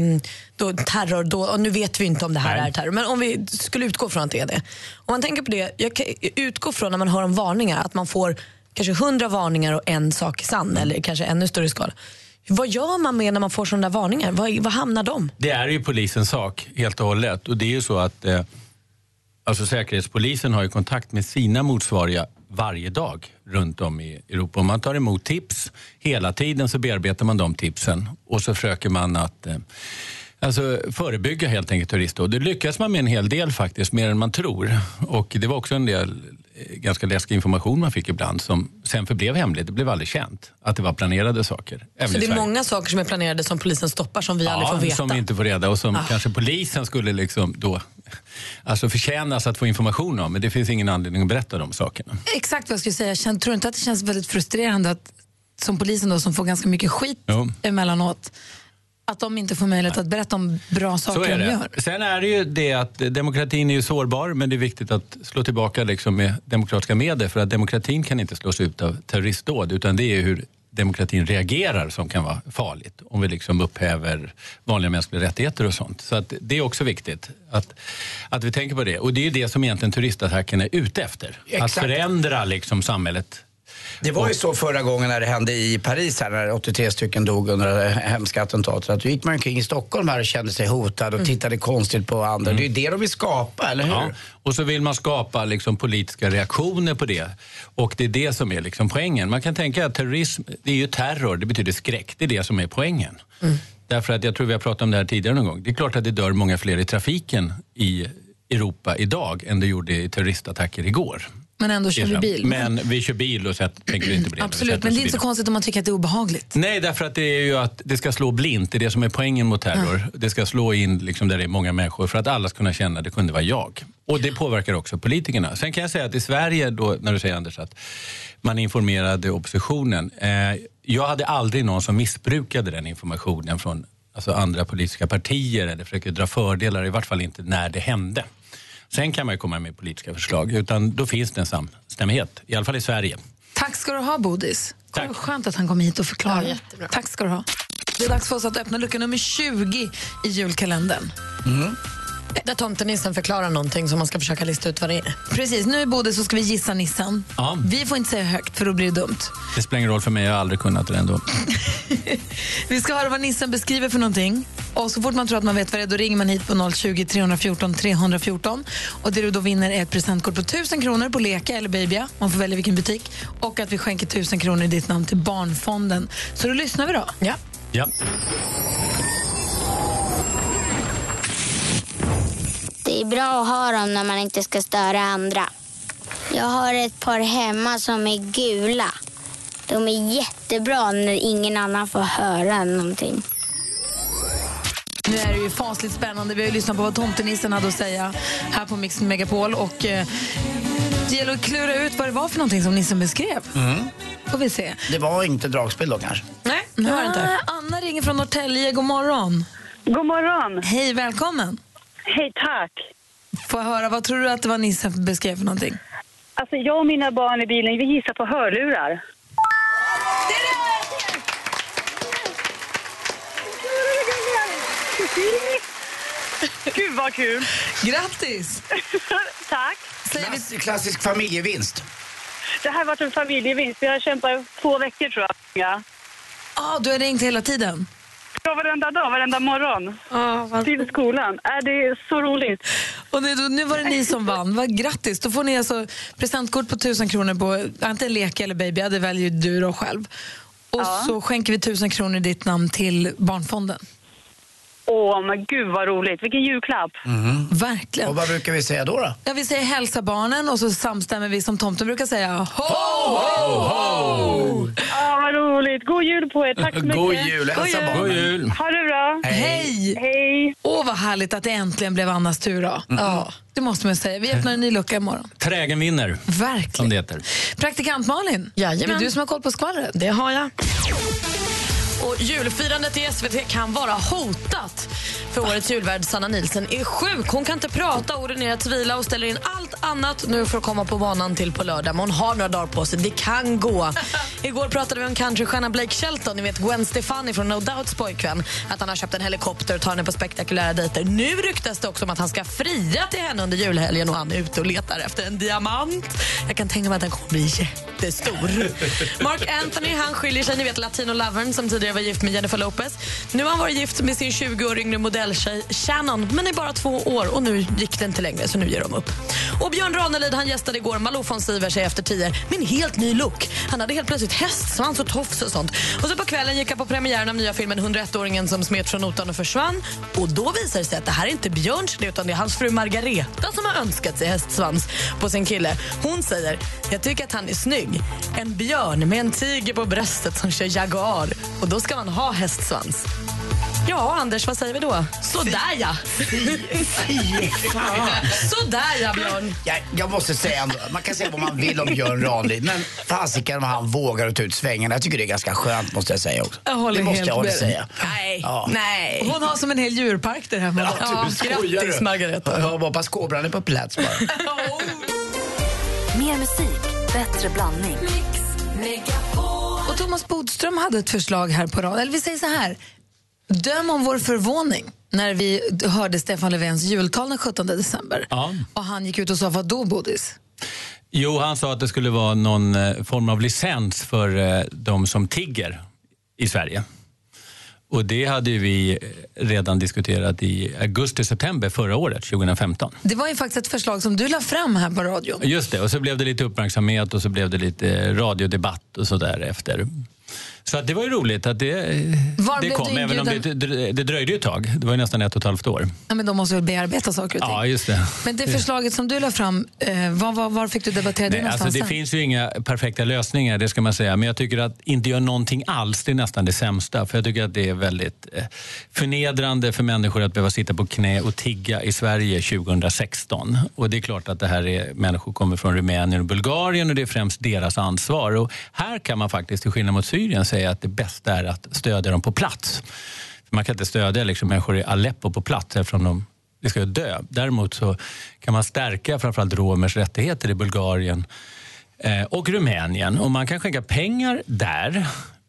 då, terror, då, och nu vet vi inte om det här Nej. är terror, men om vi skulle utgå från att det är det. Om man tänker på det, jag kan utgå från när man hör om varningar, att man får kanske hundra varningar och en sak är Mm. sann, eller kanske ännu större skala. Vad gör man med när man får sådana där varningar? Var, var hamnar de? Det är ju polisens sak helt och hållet. Och det är ju så att eh, alltså Säkerhetspolisen har ju kontakt med sina motsvariga varje dag runt om i Europa. Och man tar emot tips. Hela tiden så bearbetar man de tipsen och så försöker man att eh, Alltså förebygga helt enkelt terroristdåd. Det lyckas man med en hel del faktiskt, mer än man tror. Och det var också en del eh, ganska läskig information man fick ibland som sen förblev hemligt. Det blev aldrig känt att det var planerade saker. även Så i Alltså, det är Sverige många saker som är planerade som polisen stoppar som vi aldrig får veta. som vi inte får reda och som Ah. kanske polisen skulle liksom då, alltså förtjänas att få information om. Men det finns ingen anledning att berätta de sakerna. Exakt vad jag skulle säga. Jag känner- tror du inte att det känns väldigt frustrerande att som polisen då, som får ganska mycket skit Jo. emellanåt, att de inte får möjlighet att berätta om bra Så saker är de det. gör? Sen är det ju det att eh, demokratin är ju sårbar men det är viktigt att slå tillbaka liksom med demokratiska medel för att demokratin kan inte slås ut av terroristdåd utan det är ju hur demokratin reagerar som kan vara farligt om vi liksom upphäver vanliga mänskliga rättigheter och sånt. Så att det är också viktigt att, att vi tänker på det. Och det är ju det som egentligen turistattacken är ute efter. Exakt. Att förändra liksom samhället Det var ju så förra gången när det hände i Paris här när 83 stycken dog under det hemska attentatet. Att då gick man omkring i Stockholm här och kände sig hotad Mm. och tittade konstigt på andra. Det är ju det de vill skapa, eller hur? Ja. Och så vill man skapa liksom politiska reaktioner på det. Och det är det som är liksom poängen. Man kan tänka att terrorism, det är ju terror, det betyder skräck. Det är det som är poängen. Därför att jag tror vi har pratat om det här tidigare någon gång. Det är klart att det dör många fler i trafiken i Europa idag än det gjorde i terroristattacker igår. Men ändå kör vi bil. Men vi kör bil och så att- tänker vi inte på det. när vi sätter Absolut, oss men i det är inte bilen. så konstigt om man tycker att det är obehagligt. Nej, därför att det är ju att det ska slå blint. Det är det som är poängen mot terror. Det ska slå in liksom där det är många människor för att alla ska kunna känna att det kunde vara jag. Och det påverkar också politikerna. Sen kan jag säga att i Sverige, då, när du säger Anders att man informerade oppositionen. Eh, jag hade aldrig någon som missbrukade den informationen från alltså andra politiska partier eller försöker dra fördelar, i vart fall inte när det hände. Sen kan man ju komma med politiska förslag, utan då finns det en samstämmighet, i alla fall i Sverige. Tack ska du ha, Bodis. Tack. Skönt att han kom hit och förklarade. Tack ska du ha. Det är dags för oss att öppna lucka nummer 20 i julkalendern. Mm. Där tomtenissen förklarar någonting som man ska försöka lista ut vad det är. Precis, nu Bodis så ska vi gissa nissen. Ja. Vi får inte säga högt för då blir det dumt. Det spelar ingen roll för mig, jag har aldrig kunnat det ändå. Vi ska höra vad nissen beskriver för någonting. Och så fort man tror att man vet vad det är, då ringer man hit på 020 314 314. Och det du då vinner är ett presentkort på 1000 kronor på Leka eller Babya. Man får välja vilken butik. Och att vi skänker 1000 kronor i ditt namn till Barnfonden. Så då lyssnar vi då. Ja. Ja. Det är bra att ha dem när man inte ska störa andra. Jag har ett par hemma som är gula. De är jättebra när ingen annan får höra någonting. Nu är det ju fasligt spännande. Vi har ju lyssnat på vad tomtenissen hade att säga här på Mix Megapol. Och eh, det gäller att klura ut vad det var för någonting som nissen beskrev. Mm. Får vi se. Det var inte dragspel då kanske? Nej, det var det inte. Ah, Anna ringer från Norrtälje. God morgon. God morgon. Hej, välkommen. Hej, tack. Får jag höra, vad tror du att det var nissen beskrev för någonting? Alltså jag och mina barn i bilen, vi gissar på hörlurar. Gud, vad kul. Grattis! Tack. Klass, klassisk familjevinst. Det här har varit en familjevinst. Vi har kämpat i två veckor tror jag. Ja. Ah, du har ringt hela tiden? Ja, varenda dag, varenda morgon. Till skolan. Äh, det är så roligt. Och nu, nu var det ni som vann. Vad grattis! Då får ni alltså presentkort på 1000 kronor på antingen Leka eller Baby. Ja, Det väljer ju du då själv. Och så skänker vi 1000 kronor i ditt namn till Barnfonden. Åh, men gud vad roligt. Vilken julklapp. Verkligen. Mhm. Och vad brukar vi säga då? då? Ja, vi säger hälsa barnen och så samstämmer vi som tomten brukar säga. Ho, ho, ho! Ja, vad roligt. God jul på er. Tack så mycket. God jul. Hälsa God jul. barnen. God jul. Ha det bra. Hej! Hej! Åh, vad härligt att det äntligen blev Annas tur då. Ja, det måste man säga. Vi öppnar en ny lucka imorgon. Trägen vinner, Verkligen. som det heter. Praktikant Malin, Jajamän. det är du som har koll på skvallret. Det har jag. Och julfirandet i SVT kan vara hotat. För årets julvärd Sanna Nilsen är sjuk. Hon kan inte prata, ordinera till vila och ställer in allt annat nu för att komma på banan till på lördag. Men hon har några dagar på sig. Det kan gå. Igår pratade vi om countrystjärnan Blake Shelton, ni vet Gwen Stefani från No Doubts pojkvän. Att han har köpt en helikopter och tar henne på spektakulära dejter. Nu ryktas det också om att han ska fria till henne under julhelgen och han är ute och letar efter en diamant. Jag kan tänka mig att den kommer bli jättestor. Mark Anthony han skiljer sig, ni vet latino-lovern som tidigare var gift med Jennifer Lopez. Nu har han varit gift med sin 20 år yngre modelltjej Shannon, men i bara två år och nu gick det inte längre så nu ger de upp. Och Björn Ranelid han gästade igår Malou von Sivers i efter tio med en helt ny look. Han hade helt plötsligt hästsvans och tofs och sånt. Och så på kvällen gick han på premiären av nya filmen 101-åringen som smet från notan och försvann. Och då visar det sig att det här är inte Björns idé utan det är hans fru Margareta som har önskat sig hästsvans på sin kille. Hon säger, jag tycker att han är snygg. En björn med en tiger på bröstet som kör Jaguar. Och då ska man ha hästsvans. Ja, Anders, vad säger vi då? Sådär ja! Sådär ja, Björn. Jag, jag måste säga ändå, man kan säga vad man vill om Björn Ranelid, men fasiken om han vågar att ta ut svängarna. Jag tycker det är ganska skönt måste jag säga också. Jag håller det måste helt jag hålla med. säga. Nej. Ja. Nej. Hon har som en hel djurpark där hemma. Ja, du skojar grattis, du. Margareta. Jag hoppas kobran är på plats bara. Mer musik, bättre blandning. Och Thomas Bodström hade ett förslag här på rad. Eller vi säger så här. Döm om vår förvåning när vi hörde Stefan Löfvens jultal den 17 december. Ja. Och han gick ut och sa, vad då Bodis? Jo, han sa att det skulle vara någon eh, form av licens för eh, de som tigger i Sverige. Och det hade ju vi eh, redan diskuterat i augusti-september förra året, 2015. Det var ju faktiskt ett förslag som du la fram här på radion. Just det, och så blev det lite uppmärksamhet och så blev det lite radiodebatt och sådär efter. Så att det var ju roligt att det, eh, Var det blev kom, du även om det, inbjuden? det det dröjde ju ett tag. Det var ju nästan ett och ett halvt år. Ja, men de måste väl bearbeta saker och ting. Ja, just det. Men det förslaget som du la fram, eh, var, var, var fick du debattera det Nej, alltså någonstans det sen? finns ju inga perfekta lösningar, det ska man säga. Men jag tycker att inte göra någonting alls, det är nästan det sämsta. För jag tycker att det är väldigt eh, förnedrande för människor att behöva sitta på knä och tigga i Sverige 2016. Och det är klart att det här är människor kommer från Rumänien och Bulgarien och det är främst deras ansvar. Och här kan man faktiskt, till skillnad mot Syrien, säga att det bästa är att stödja dem på plats. För man kan inte stödja liksom, människor i Aleppo på plats eftersom de det ska ju dö. Däremot så kan man stärka framförallt romers rättigheter i Bulgarien eh, och Rumänien. Och man kan skänka pengar där,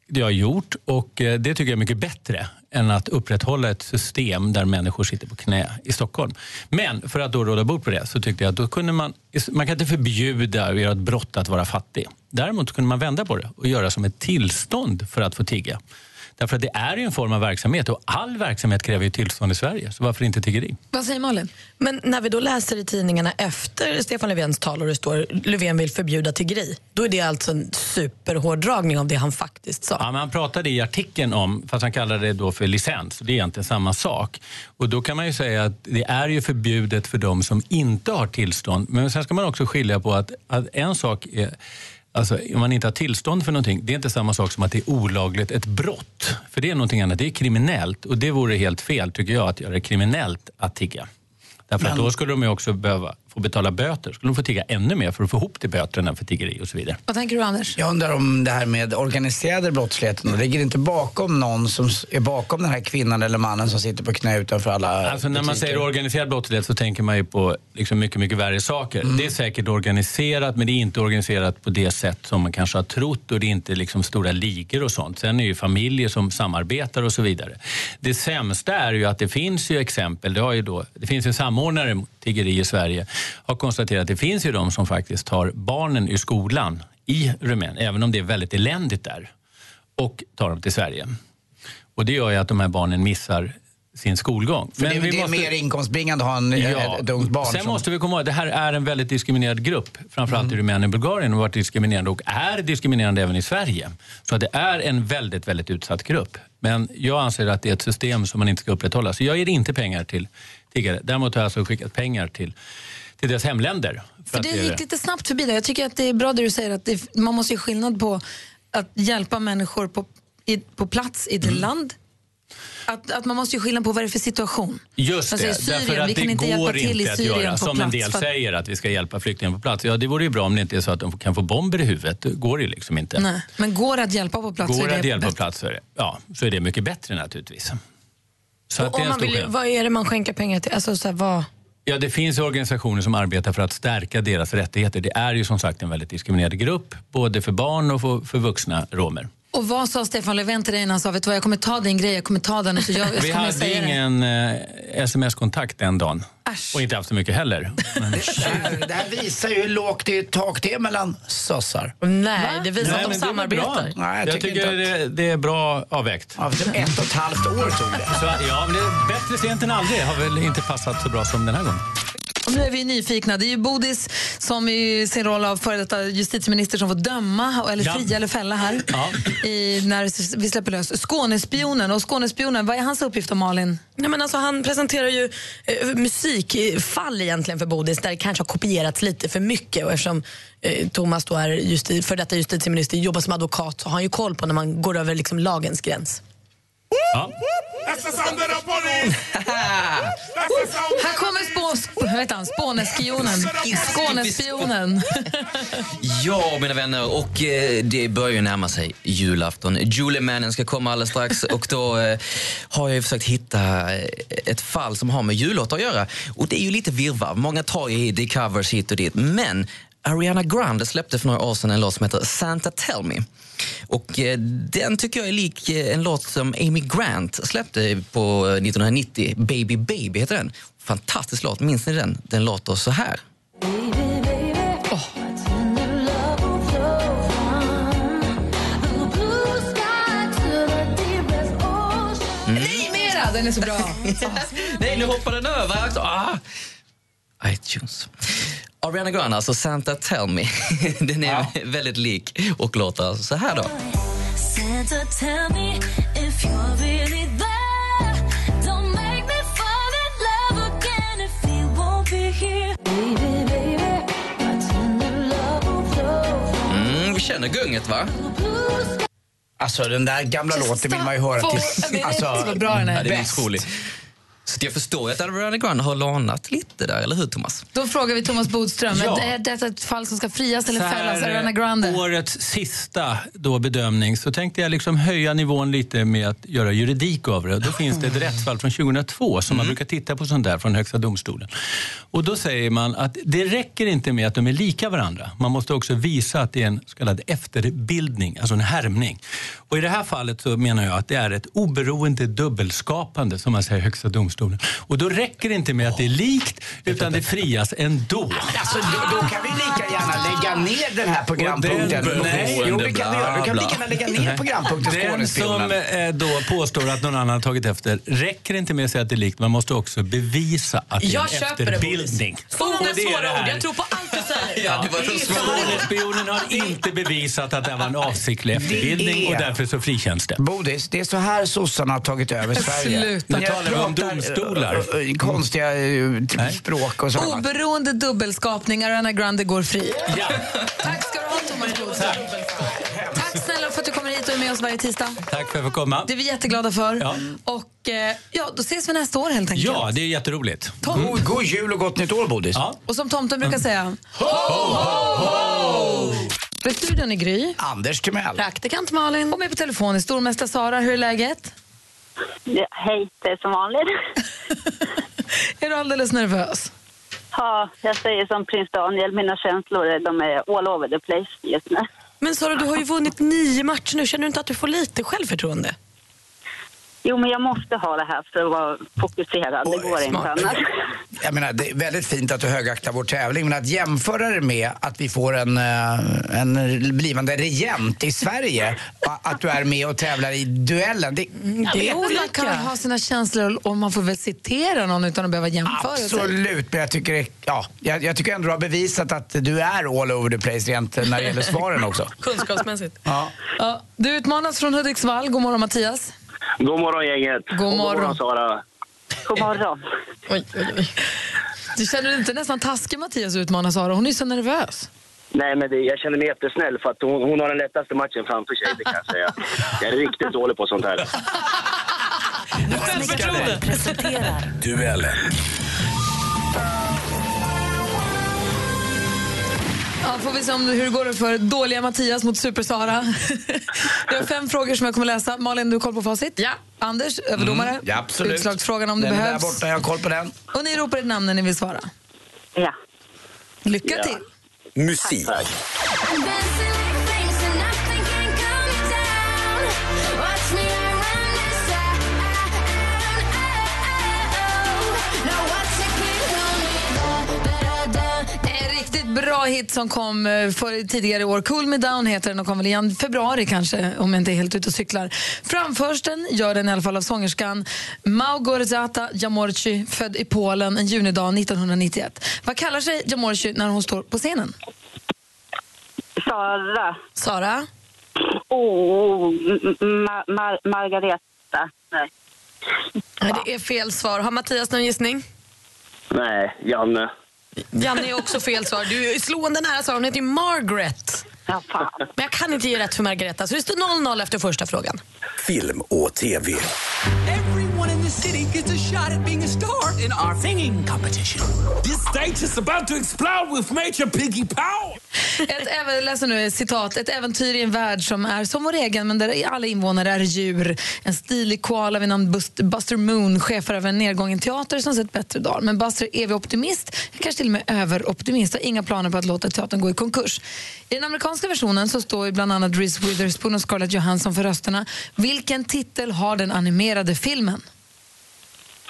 det har jag gjort. Och eh, det tycker jag är mycket bättre än att upprätthålla ett system där människor sitter på knä i Stockholm. Men för att då råda bort på det så tyckte jag att då kunde man, man kan inte förbjuda och göra ett brott att vara fattig. Däremot kunde man vända på det och göra som ett tillstånd för att få tigga. Därför att det är ju en form av verksamhet och all verksamhet kräver ju tillstånd i Sverige. Så varför inte tiggeri? Vad säger Malin? Men när vi då läser i tidningarna efter Stefan Löfvens tal och det står Löfven vill förbjuda tiggeri, då är det alltså en superhårdragning av det han faktiskt sa. Ja, men han pratade i artikeln om, fast han kallade det då för licens, och det är egentligen samma sak. Och då kan man ju säga att det är ju förbjudet för de som inte har tillstånd. Men sen ska man också skilja på att, att en sak är Alltså, om man inte har tillstånd för någonting, det är inte samma sak som att det är olagligt, ett brott. För det är någonting annat, det är kriminellt. Och det vore helt fel, tycker jag, att göra det kriminellt att tigga. Därför att Men- då skulle de ju också behöva få betala böter. Skulle de få tigga ännu mer för att få ihop till böterna för tiggeri och så vidare. Vad tänker du Anders? Jag undrar om det här med organiserade brottsligheten, det ligger inte bakom någon som s- är bakom den här kvinnan eller mannen som sitter på knä utanför alla Alltså när man butiker? säger organiserad brottslighet så tänker man ju på liksom mycket, mycket värre saker. Det är säkert organiserat, men det är inte organiserat på det sätt som man kanske har trott och det är inte liksom stora ligor och sånt. Sen är det ju familjer som samarbetar och så vidare. Det sämsta är ju att det finns ju exempel, det, har ju då, det finns en samordnare mot tiggeri i Sverige, har konstaterat att det finns ju de som faktiskt tar barnen ur skolan i Rumänien, även om det är väldigt eländigt där, och tar dem till Sverige. Och det gör ju att de här barnen missar sin skolgång. För det, det är mer inkomstbringande att ha en, Ja. ett ungt barn. Sen som- Mm. måste vi komma ihåg att det här är en väldigt diskriminerad grupp. Framförallt i Rumänien och Bulgarien har varit diskriminerande och är diskriminerande även i Sverige. Så att det är en väldigt, väldigt utsatt grupp. Men jag anser att det är ett system som man inte ska upprätthålla. Så jag ger inte pengar till tiggare. Däremot har jag alltså skickat pengar till, till deras hemländer. För För att det det är- gick lite snabbt förbi där. Jag tycker att det är bra det du säger att det, man Mm. måste ju skillnad på att hjälpa människor på, i, på plats i det land Att, att man måste ju skilja på vad det är för situation. Just Alltså, i det, Syrien, därför att vi kan det inte hjälpa går till i inte att Syrien göra på som en plats del för att- säger att vi ska hjälpa flyktingar på plats. Ja, det vore ju bra om det inte är så att de kan få bomber i huvudet. Det går ju liksom inte. Nej. Men går det att hjälpa på plats? så Går är det det att hjälpa bäst. på plats så är det, ja, så är det mycket bättre naturligtvis. Så att det är Om en man stor vill, skillnad. vad är det man skänker pengar till? Alltså, så här, vad... Ja, det finns ju organisationer som arbetar för att stärka deras rättigheter. Det är ju som sagt en väldigt diskriminerad grupp, både för barn och för, för vuxna romer. Och vad sa Stefan Löfven till dig när han sa vet du vad, jag kommer ta din grej, jag kommer ta den och så jag, jag Vi kommer hade säga det. ingen eh, sms-kontakt den dagen. Och inte haft så mycket heller. Det här visar ju hur lågt det är tak det är mellan sossar. Nej, det visar Nej, att de men det är väl bra. samarbetar. Nej, jag jag tycker tycker, det, det är bra avvägt. typ Ett och ett halvt år tog det. Så, ja, men det är bättre sent än aldrig. Har väl inte passat så bra som den här gången. Och nu är vi nyfikna. Det är ju Bodis som i sin roll av före detta justitieminister som får döma, eller Ja. fria eller fälla här, i, när vi släpper lös Skånespionen. Och Skånespionen, vad är hans uppgift om Malin? Nej, men alltså, han presenterar ju eh, musikfall egentligen för Bodis där det kanske har kopierats lite för mycket. Och eftersom eh, Thomas då är justi- för detta justitieminister jobbar som advokat så har han ju koll på när man går över liksom, lagens gräns. Ja. Här kommer spå, spå, vad heter han? Spånespionen. Skånespionen. Ja, mina vänner, och eh, det börjar ju närma sig julafton. Julemannen ska komma alldeles strax och då eh, har jag ju försökt hitta eh, ett fall som har med jullåtar att göra. Och det är ju lite virrvarr. Många tar ju hit i covers hit och dit. Men Ariana Grande släppte för några år sedan en låt som heter Santa Tell Me. Och eh, den tycker jag är lik eh, en låt som Amy Grant släppte på eh, 1990. Baby Baby heter den. Fantastisk låt, minns ni den? Den låter så här. Mm. Nej, mera! Den är så bra. Nej, nu hoppar den över. Ah. iTunes. Ariana Grande, alltså Santa Tell Me. Den är väldigt lik och låter alltså så här då. Santa, tell me if you're really there. Don't make me fall in love again if you won't be here. Baby, baby, my tender love will flow Mm, vi känner gunget, va? Alltså den där gamla låten vill man ju höra till. Alltså, Ja, den är bäst. otrolig. Så att jag förstår ju att Ariana Grande har lånat lite där, eller hur Thomas? Då frågar vi Thomas Bodström, Ja. är detta ett fall som ska frias eller Så här, fällas? Ariana eh, Grande? Årets sista då bedömning så tänkte jag liksom höja nivån lite med att göra juridik av det. Då finns det ett rättsfall från 2002 som man brukar titta på sånt där från Högsta domstolen. Och då säger man att det räcker inte med att de är lika varandra. Man måste också visa att det är en så kallad efterbildning, alltså en härmning. Och i det här fallet så menar jag att det är ett oberoende dubbelskapande som man säger i Högsta domstolen. Och då räcker det inte med att det är likt utan det frias ändå. Alltså, då, då kan vi lika gärna lägga ner den här programpunkten. Och den- Nej, jo, vi kan, vi göra. vi kan lika gärna lägga ner programpunkten Den som Skånespionen. eh, då påstår att någon annan har tagit efter räcker inte med att säga att det är likt, man måste också bevisa att det är Jag en köper det, Bodis. efterbildning. Så många Och det är det svåra här. ord. Jag tror på allt du säger. Ja, Skånespionen har inte bevisat att det var en avsiktlig efterbildning Det är- och därför så frikänns det. Bodis, det är så här sossarna har tagit över Sverige. Sluta. Nu talar vi om domstolar. Mm. ö, ö, Konstiga ö, typ språk och sånt. Oberoende dubbelskapning, Ariana Grande går fri. Tack ska du ha, Thomas Bodström. Tack snälla för att du kommer hit och är med oss varje tisdag. Tack för att jag får komma. Det är vi jätteglada för. Ja. Och eh, ja, då ses vi nästa år helt enkelt. Ja, det är jätteroligt. Tom. Mm. God jul och gott nytt år, Bodis. Ja. Och som tomten brukar säga, ho, ho, ho! Studion är Gry. Anders Timell. Praktikant Malin. Och med på telefon är stormästare Sara. Hur är läget? Ja, hej, det är som vanligt. är du alldeles nervös? Ja, jag säger som prins Daniel, mina känslor eh, de är all over the place just nu. Men Sara, du har ju vunnit nio matcher nu. Känner du inte att du får lite självförtroende? Jo, men jag måste ha det här för att vara fokuserad. Det går inte annars. Jag menar, det är väldigt fint att du högaktar vår tävling, men att jämföra det med att vi får en, eh, en blivande regent i Sverige, a- att du är med och tävlar i duellen, det, Mm, jag vet Jo, man inte. kan väl ha sina känslor och man får väl citera någon utan att behöva jämföra sig. Absolut, men jag tycker, det- ja, jag, jag tycker ändå du har bevisat att du är all over the place rent när det gäller svaren också. Kunskapsmässigt. Ja. Ja, du utmanas från Hudiksvall. God morgon Mattias. God morgon gänget. God Och morgon. Sara. God morgon. Oj, oj, oj. Du känner dig inte nästan taskig Mattias att utmana Sara? Hon är ju så nervös. Nej, men det, jag känner mig jättesnäll för att hon, hon har den lättaste matchen framför sig, det kan jag säga. Jag är riktigt dålig på sånt här. Mix Megapol presenterar Duellen. Ja, får vi se om, hur det går för dåliga Mattias mot Super-Sara. det är fem frågor som jag kommer läsa. Malin, du har koll på facit? Ja. Anders, överdomare? Mm, ja, absolut. Utslagsfrågan om det Den är behövs. där borta, jag har koll på den. Och ni ropar ett namn när ni vill svara. Ja. Lycka till. Musik. En riktigt bra hit som kom eh, för tidigare i år. Cool Me Down heter den och kom väl igen februari kanske, om jag inte är helt ute och cyklar. Framförs den gör den i alla fall av sångerskan Małgorzata Jamorci, född i Polen en junidag 1991. Vad kallar sig Jamorci när hon står på scenen? Sara. Sara? Oh, m- m- ma- Mar- Margareta. Nej. Nej, det är fel svar. Har Mattias någon gissning? Nej, Janne. Janne är också fel svar. Du är slående nära svar. Hon heter ju Margaret. Ja, fan. Men jag kan inte ge rätt för Margareta, så det står 0-0 efter första frågan. Film och TV. Everyone in the city gets a shot at being a star in our singing competition. This stage is about to explode with major piggy power. Ett, även- läser nu ett citat. Ett äventyr i en värld som är som vår egen men där alla invånare är djur. En stilig koala vid namn Bust- Buster Moon chefar över en nedgången teater som sett bättre dagar. Men Buster är evig optimist, kanske till och med överoptimist och har inga planer på att låta teatern gå i konkurs. I den amerikanska versionen så står ju bland annat Reese Witherspoon och Scarlett Johansson för rösterna. Vilken titel har den animerade filmen?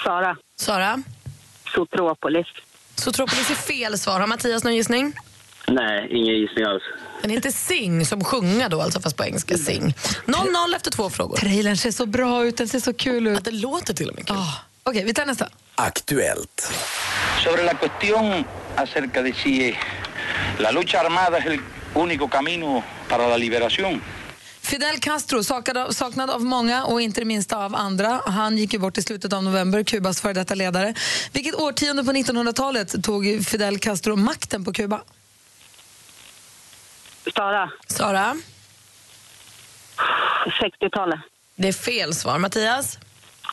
Sara. Sara? Sotropolis. Sotropolis är fel svar. Har Mattias någon gissning? Nej, ingen gissning alls. Den heter Sing, som sjunga då, alltså fast på engelska. Sing. 0-0 efter två frågor. Trailern ser så bra ut, den ser så kul ut. Ah. det låter till och med kul. Okej, vi tar nästa. Aktuellt. Sobre la cuestión acerca de si eh, la lucha armada es el único camino para la liberación. Fidel Castro, sakad av- saknad av många och inte det minsta av andra. Han gick ju bort i slutet av november, Kubas före detta ledare. Vilket årtionde på 1900-talet tog Fidel Castro makten på Kuba? Sara. Sara? 60-talet. Det är fel svar. Mattias?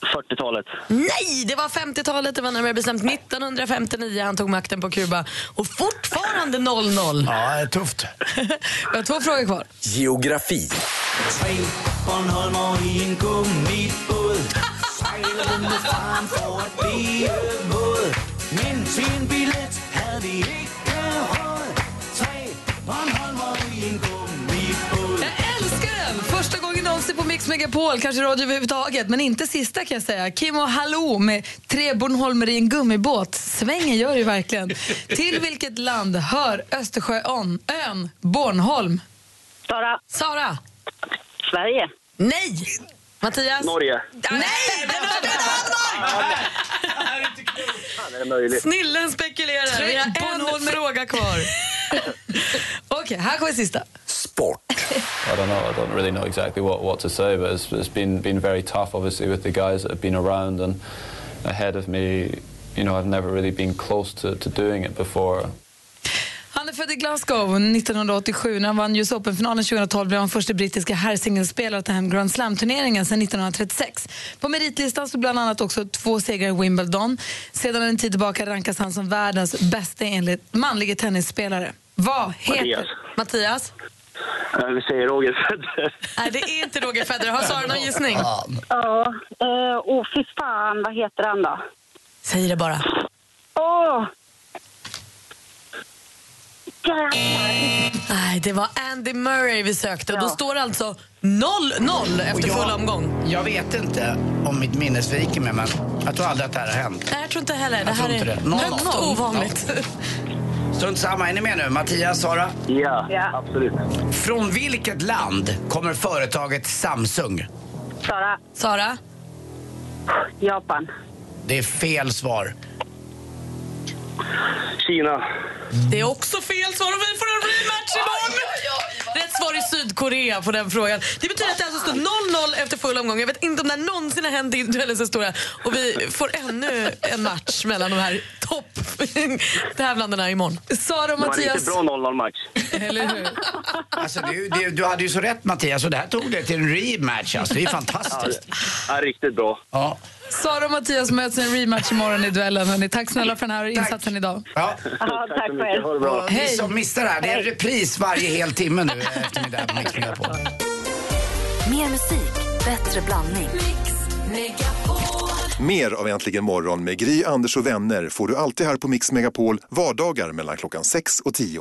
40-talet. Nej, det var 50-talet. Det var närmare bestämt 1959 han tog makten på Kuba. Och fortfarande 0-0. Ja, det är tufft. Vi har två frågor kvar. Geografi. Tre Bornholmer i en gummibåd Sejlede med faren for at blive våd Men til en billet havde vi ikke råd Tre Bornholmer i en gummibåd Älskar den! Första gången någonsin på Mix Megapol, kanske radio överhuvudtaget, men inte sista kan jag säga. Kim och Hallå med tre Bornholmer i en gummibåt. Svängen gör ju verkligen. Till vilket land hör Östersjöön, ön Bornholm? Sara. Sara. Sverige. Nej! Mattias? Norge. Nej! Fan, är det möjligt? Snillen spekulerar. Vi har en fråga kvar. Okej, här kommer sista. I don't know. I don't really know exactly what, what to say, but it's, it's been been very tough, obviously, with the guys that have been around and ahead of me. You know, I've never really been close to, to doing it before. Han är född i Glasgow 1987. När han vann US Open-finalen 2012 blev han första brittiska herrsingelspelare att ta hem Grand Slam-turneringen sedan 1936. På meritlistan stod bland annat också två segrar i Wimbledon. Sedan en tid tillbaka rankas han som världens bästa enligt manliga tennisspelare. Vad heter... Mattias. Mattias? Eh, Vi säger Roger Federer. Nej, det är inte Roger Federer. Har Sara någon gissning? Ja. eh, Åh, fy fan. Vad heter han då? Säg det bara. Åh! Nej, det var Andy Murray vi sökte. Och då står det alltså 0-0 efter Och jag- full omgång. Jag vet inte om mitt minne sviker mig, men jag tror aldrig att det här har hänt. Nej, jag tror inte heller. Det Jag här tror inte är det. Noll, högst noll. ovanligt. Strunt samma, är ni med nu? Mattias, Sara? Ja, absolut. Från vilket land kommer företaget Samsung? Sara. Sara? Japan. Det är fel svar. Kina. Det är också fel svar och vi får en rematch imorgon! Rätt svar är Sydkorea på den frågan. Det betyder att det alltså står 0-0 efter full omgång. Jag vet inte om det här någonsin har hänt i duellens historia. Och vi får ännu en match mellan de här topptävlandena imorgon. Sara och Det var en riktigt Mattias... bra 0-0-match. eller hur? Alltså, du, du, du hade ju så rätt Mattias, och det här tog det till en rematch. Alltså. Det är ju fantastiskt. Ja, riktigt bra. Ja. Sara och Mattias möts i en rematch imorgon i duellen. Hörrni. Tack snälla för den här insatsen idag. Ja. Tack så tack mycket. Ha det bra. Ni som missar det här, det är en repris varje hel timme nu eh, eftermiddag på Mix Megapol. Mer musik, bättre blandning. Mix, Megapol. Mer av Äntligen morgon med Gry, Anders och vänner får du alltid här på Mix Megapol vardagar mellan klockan 6 och 10.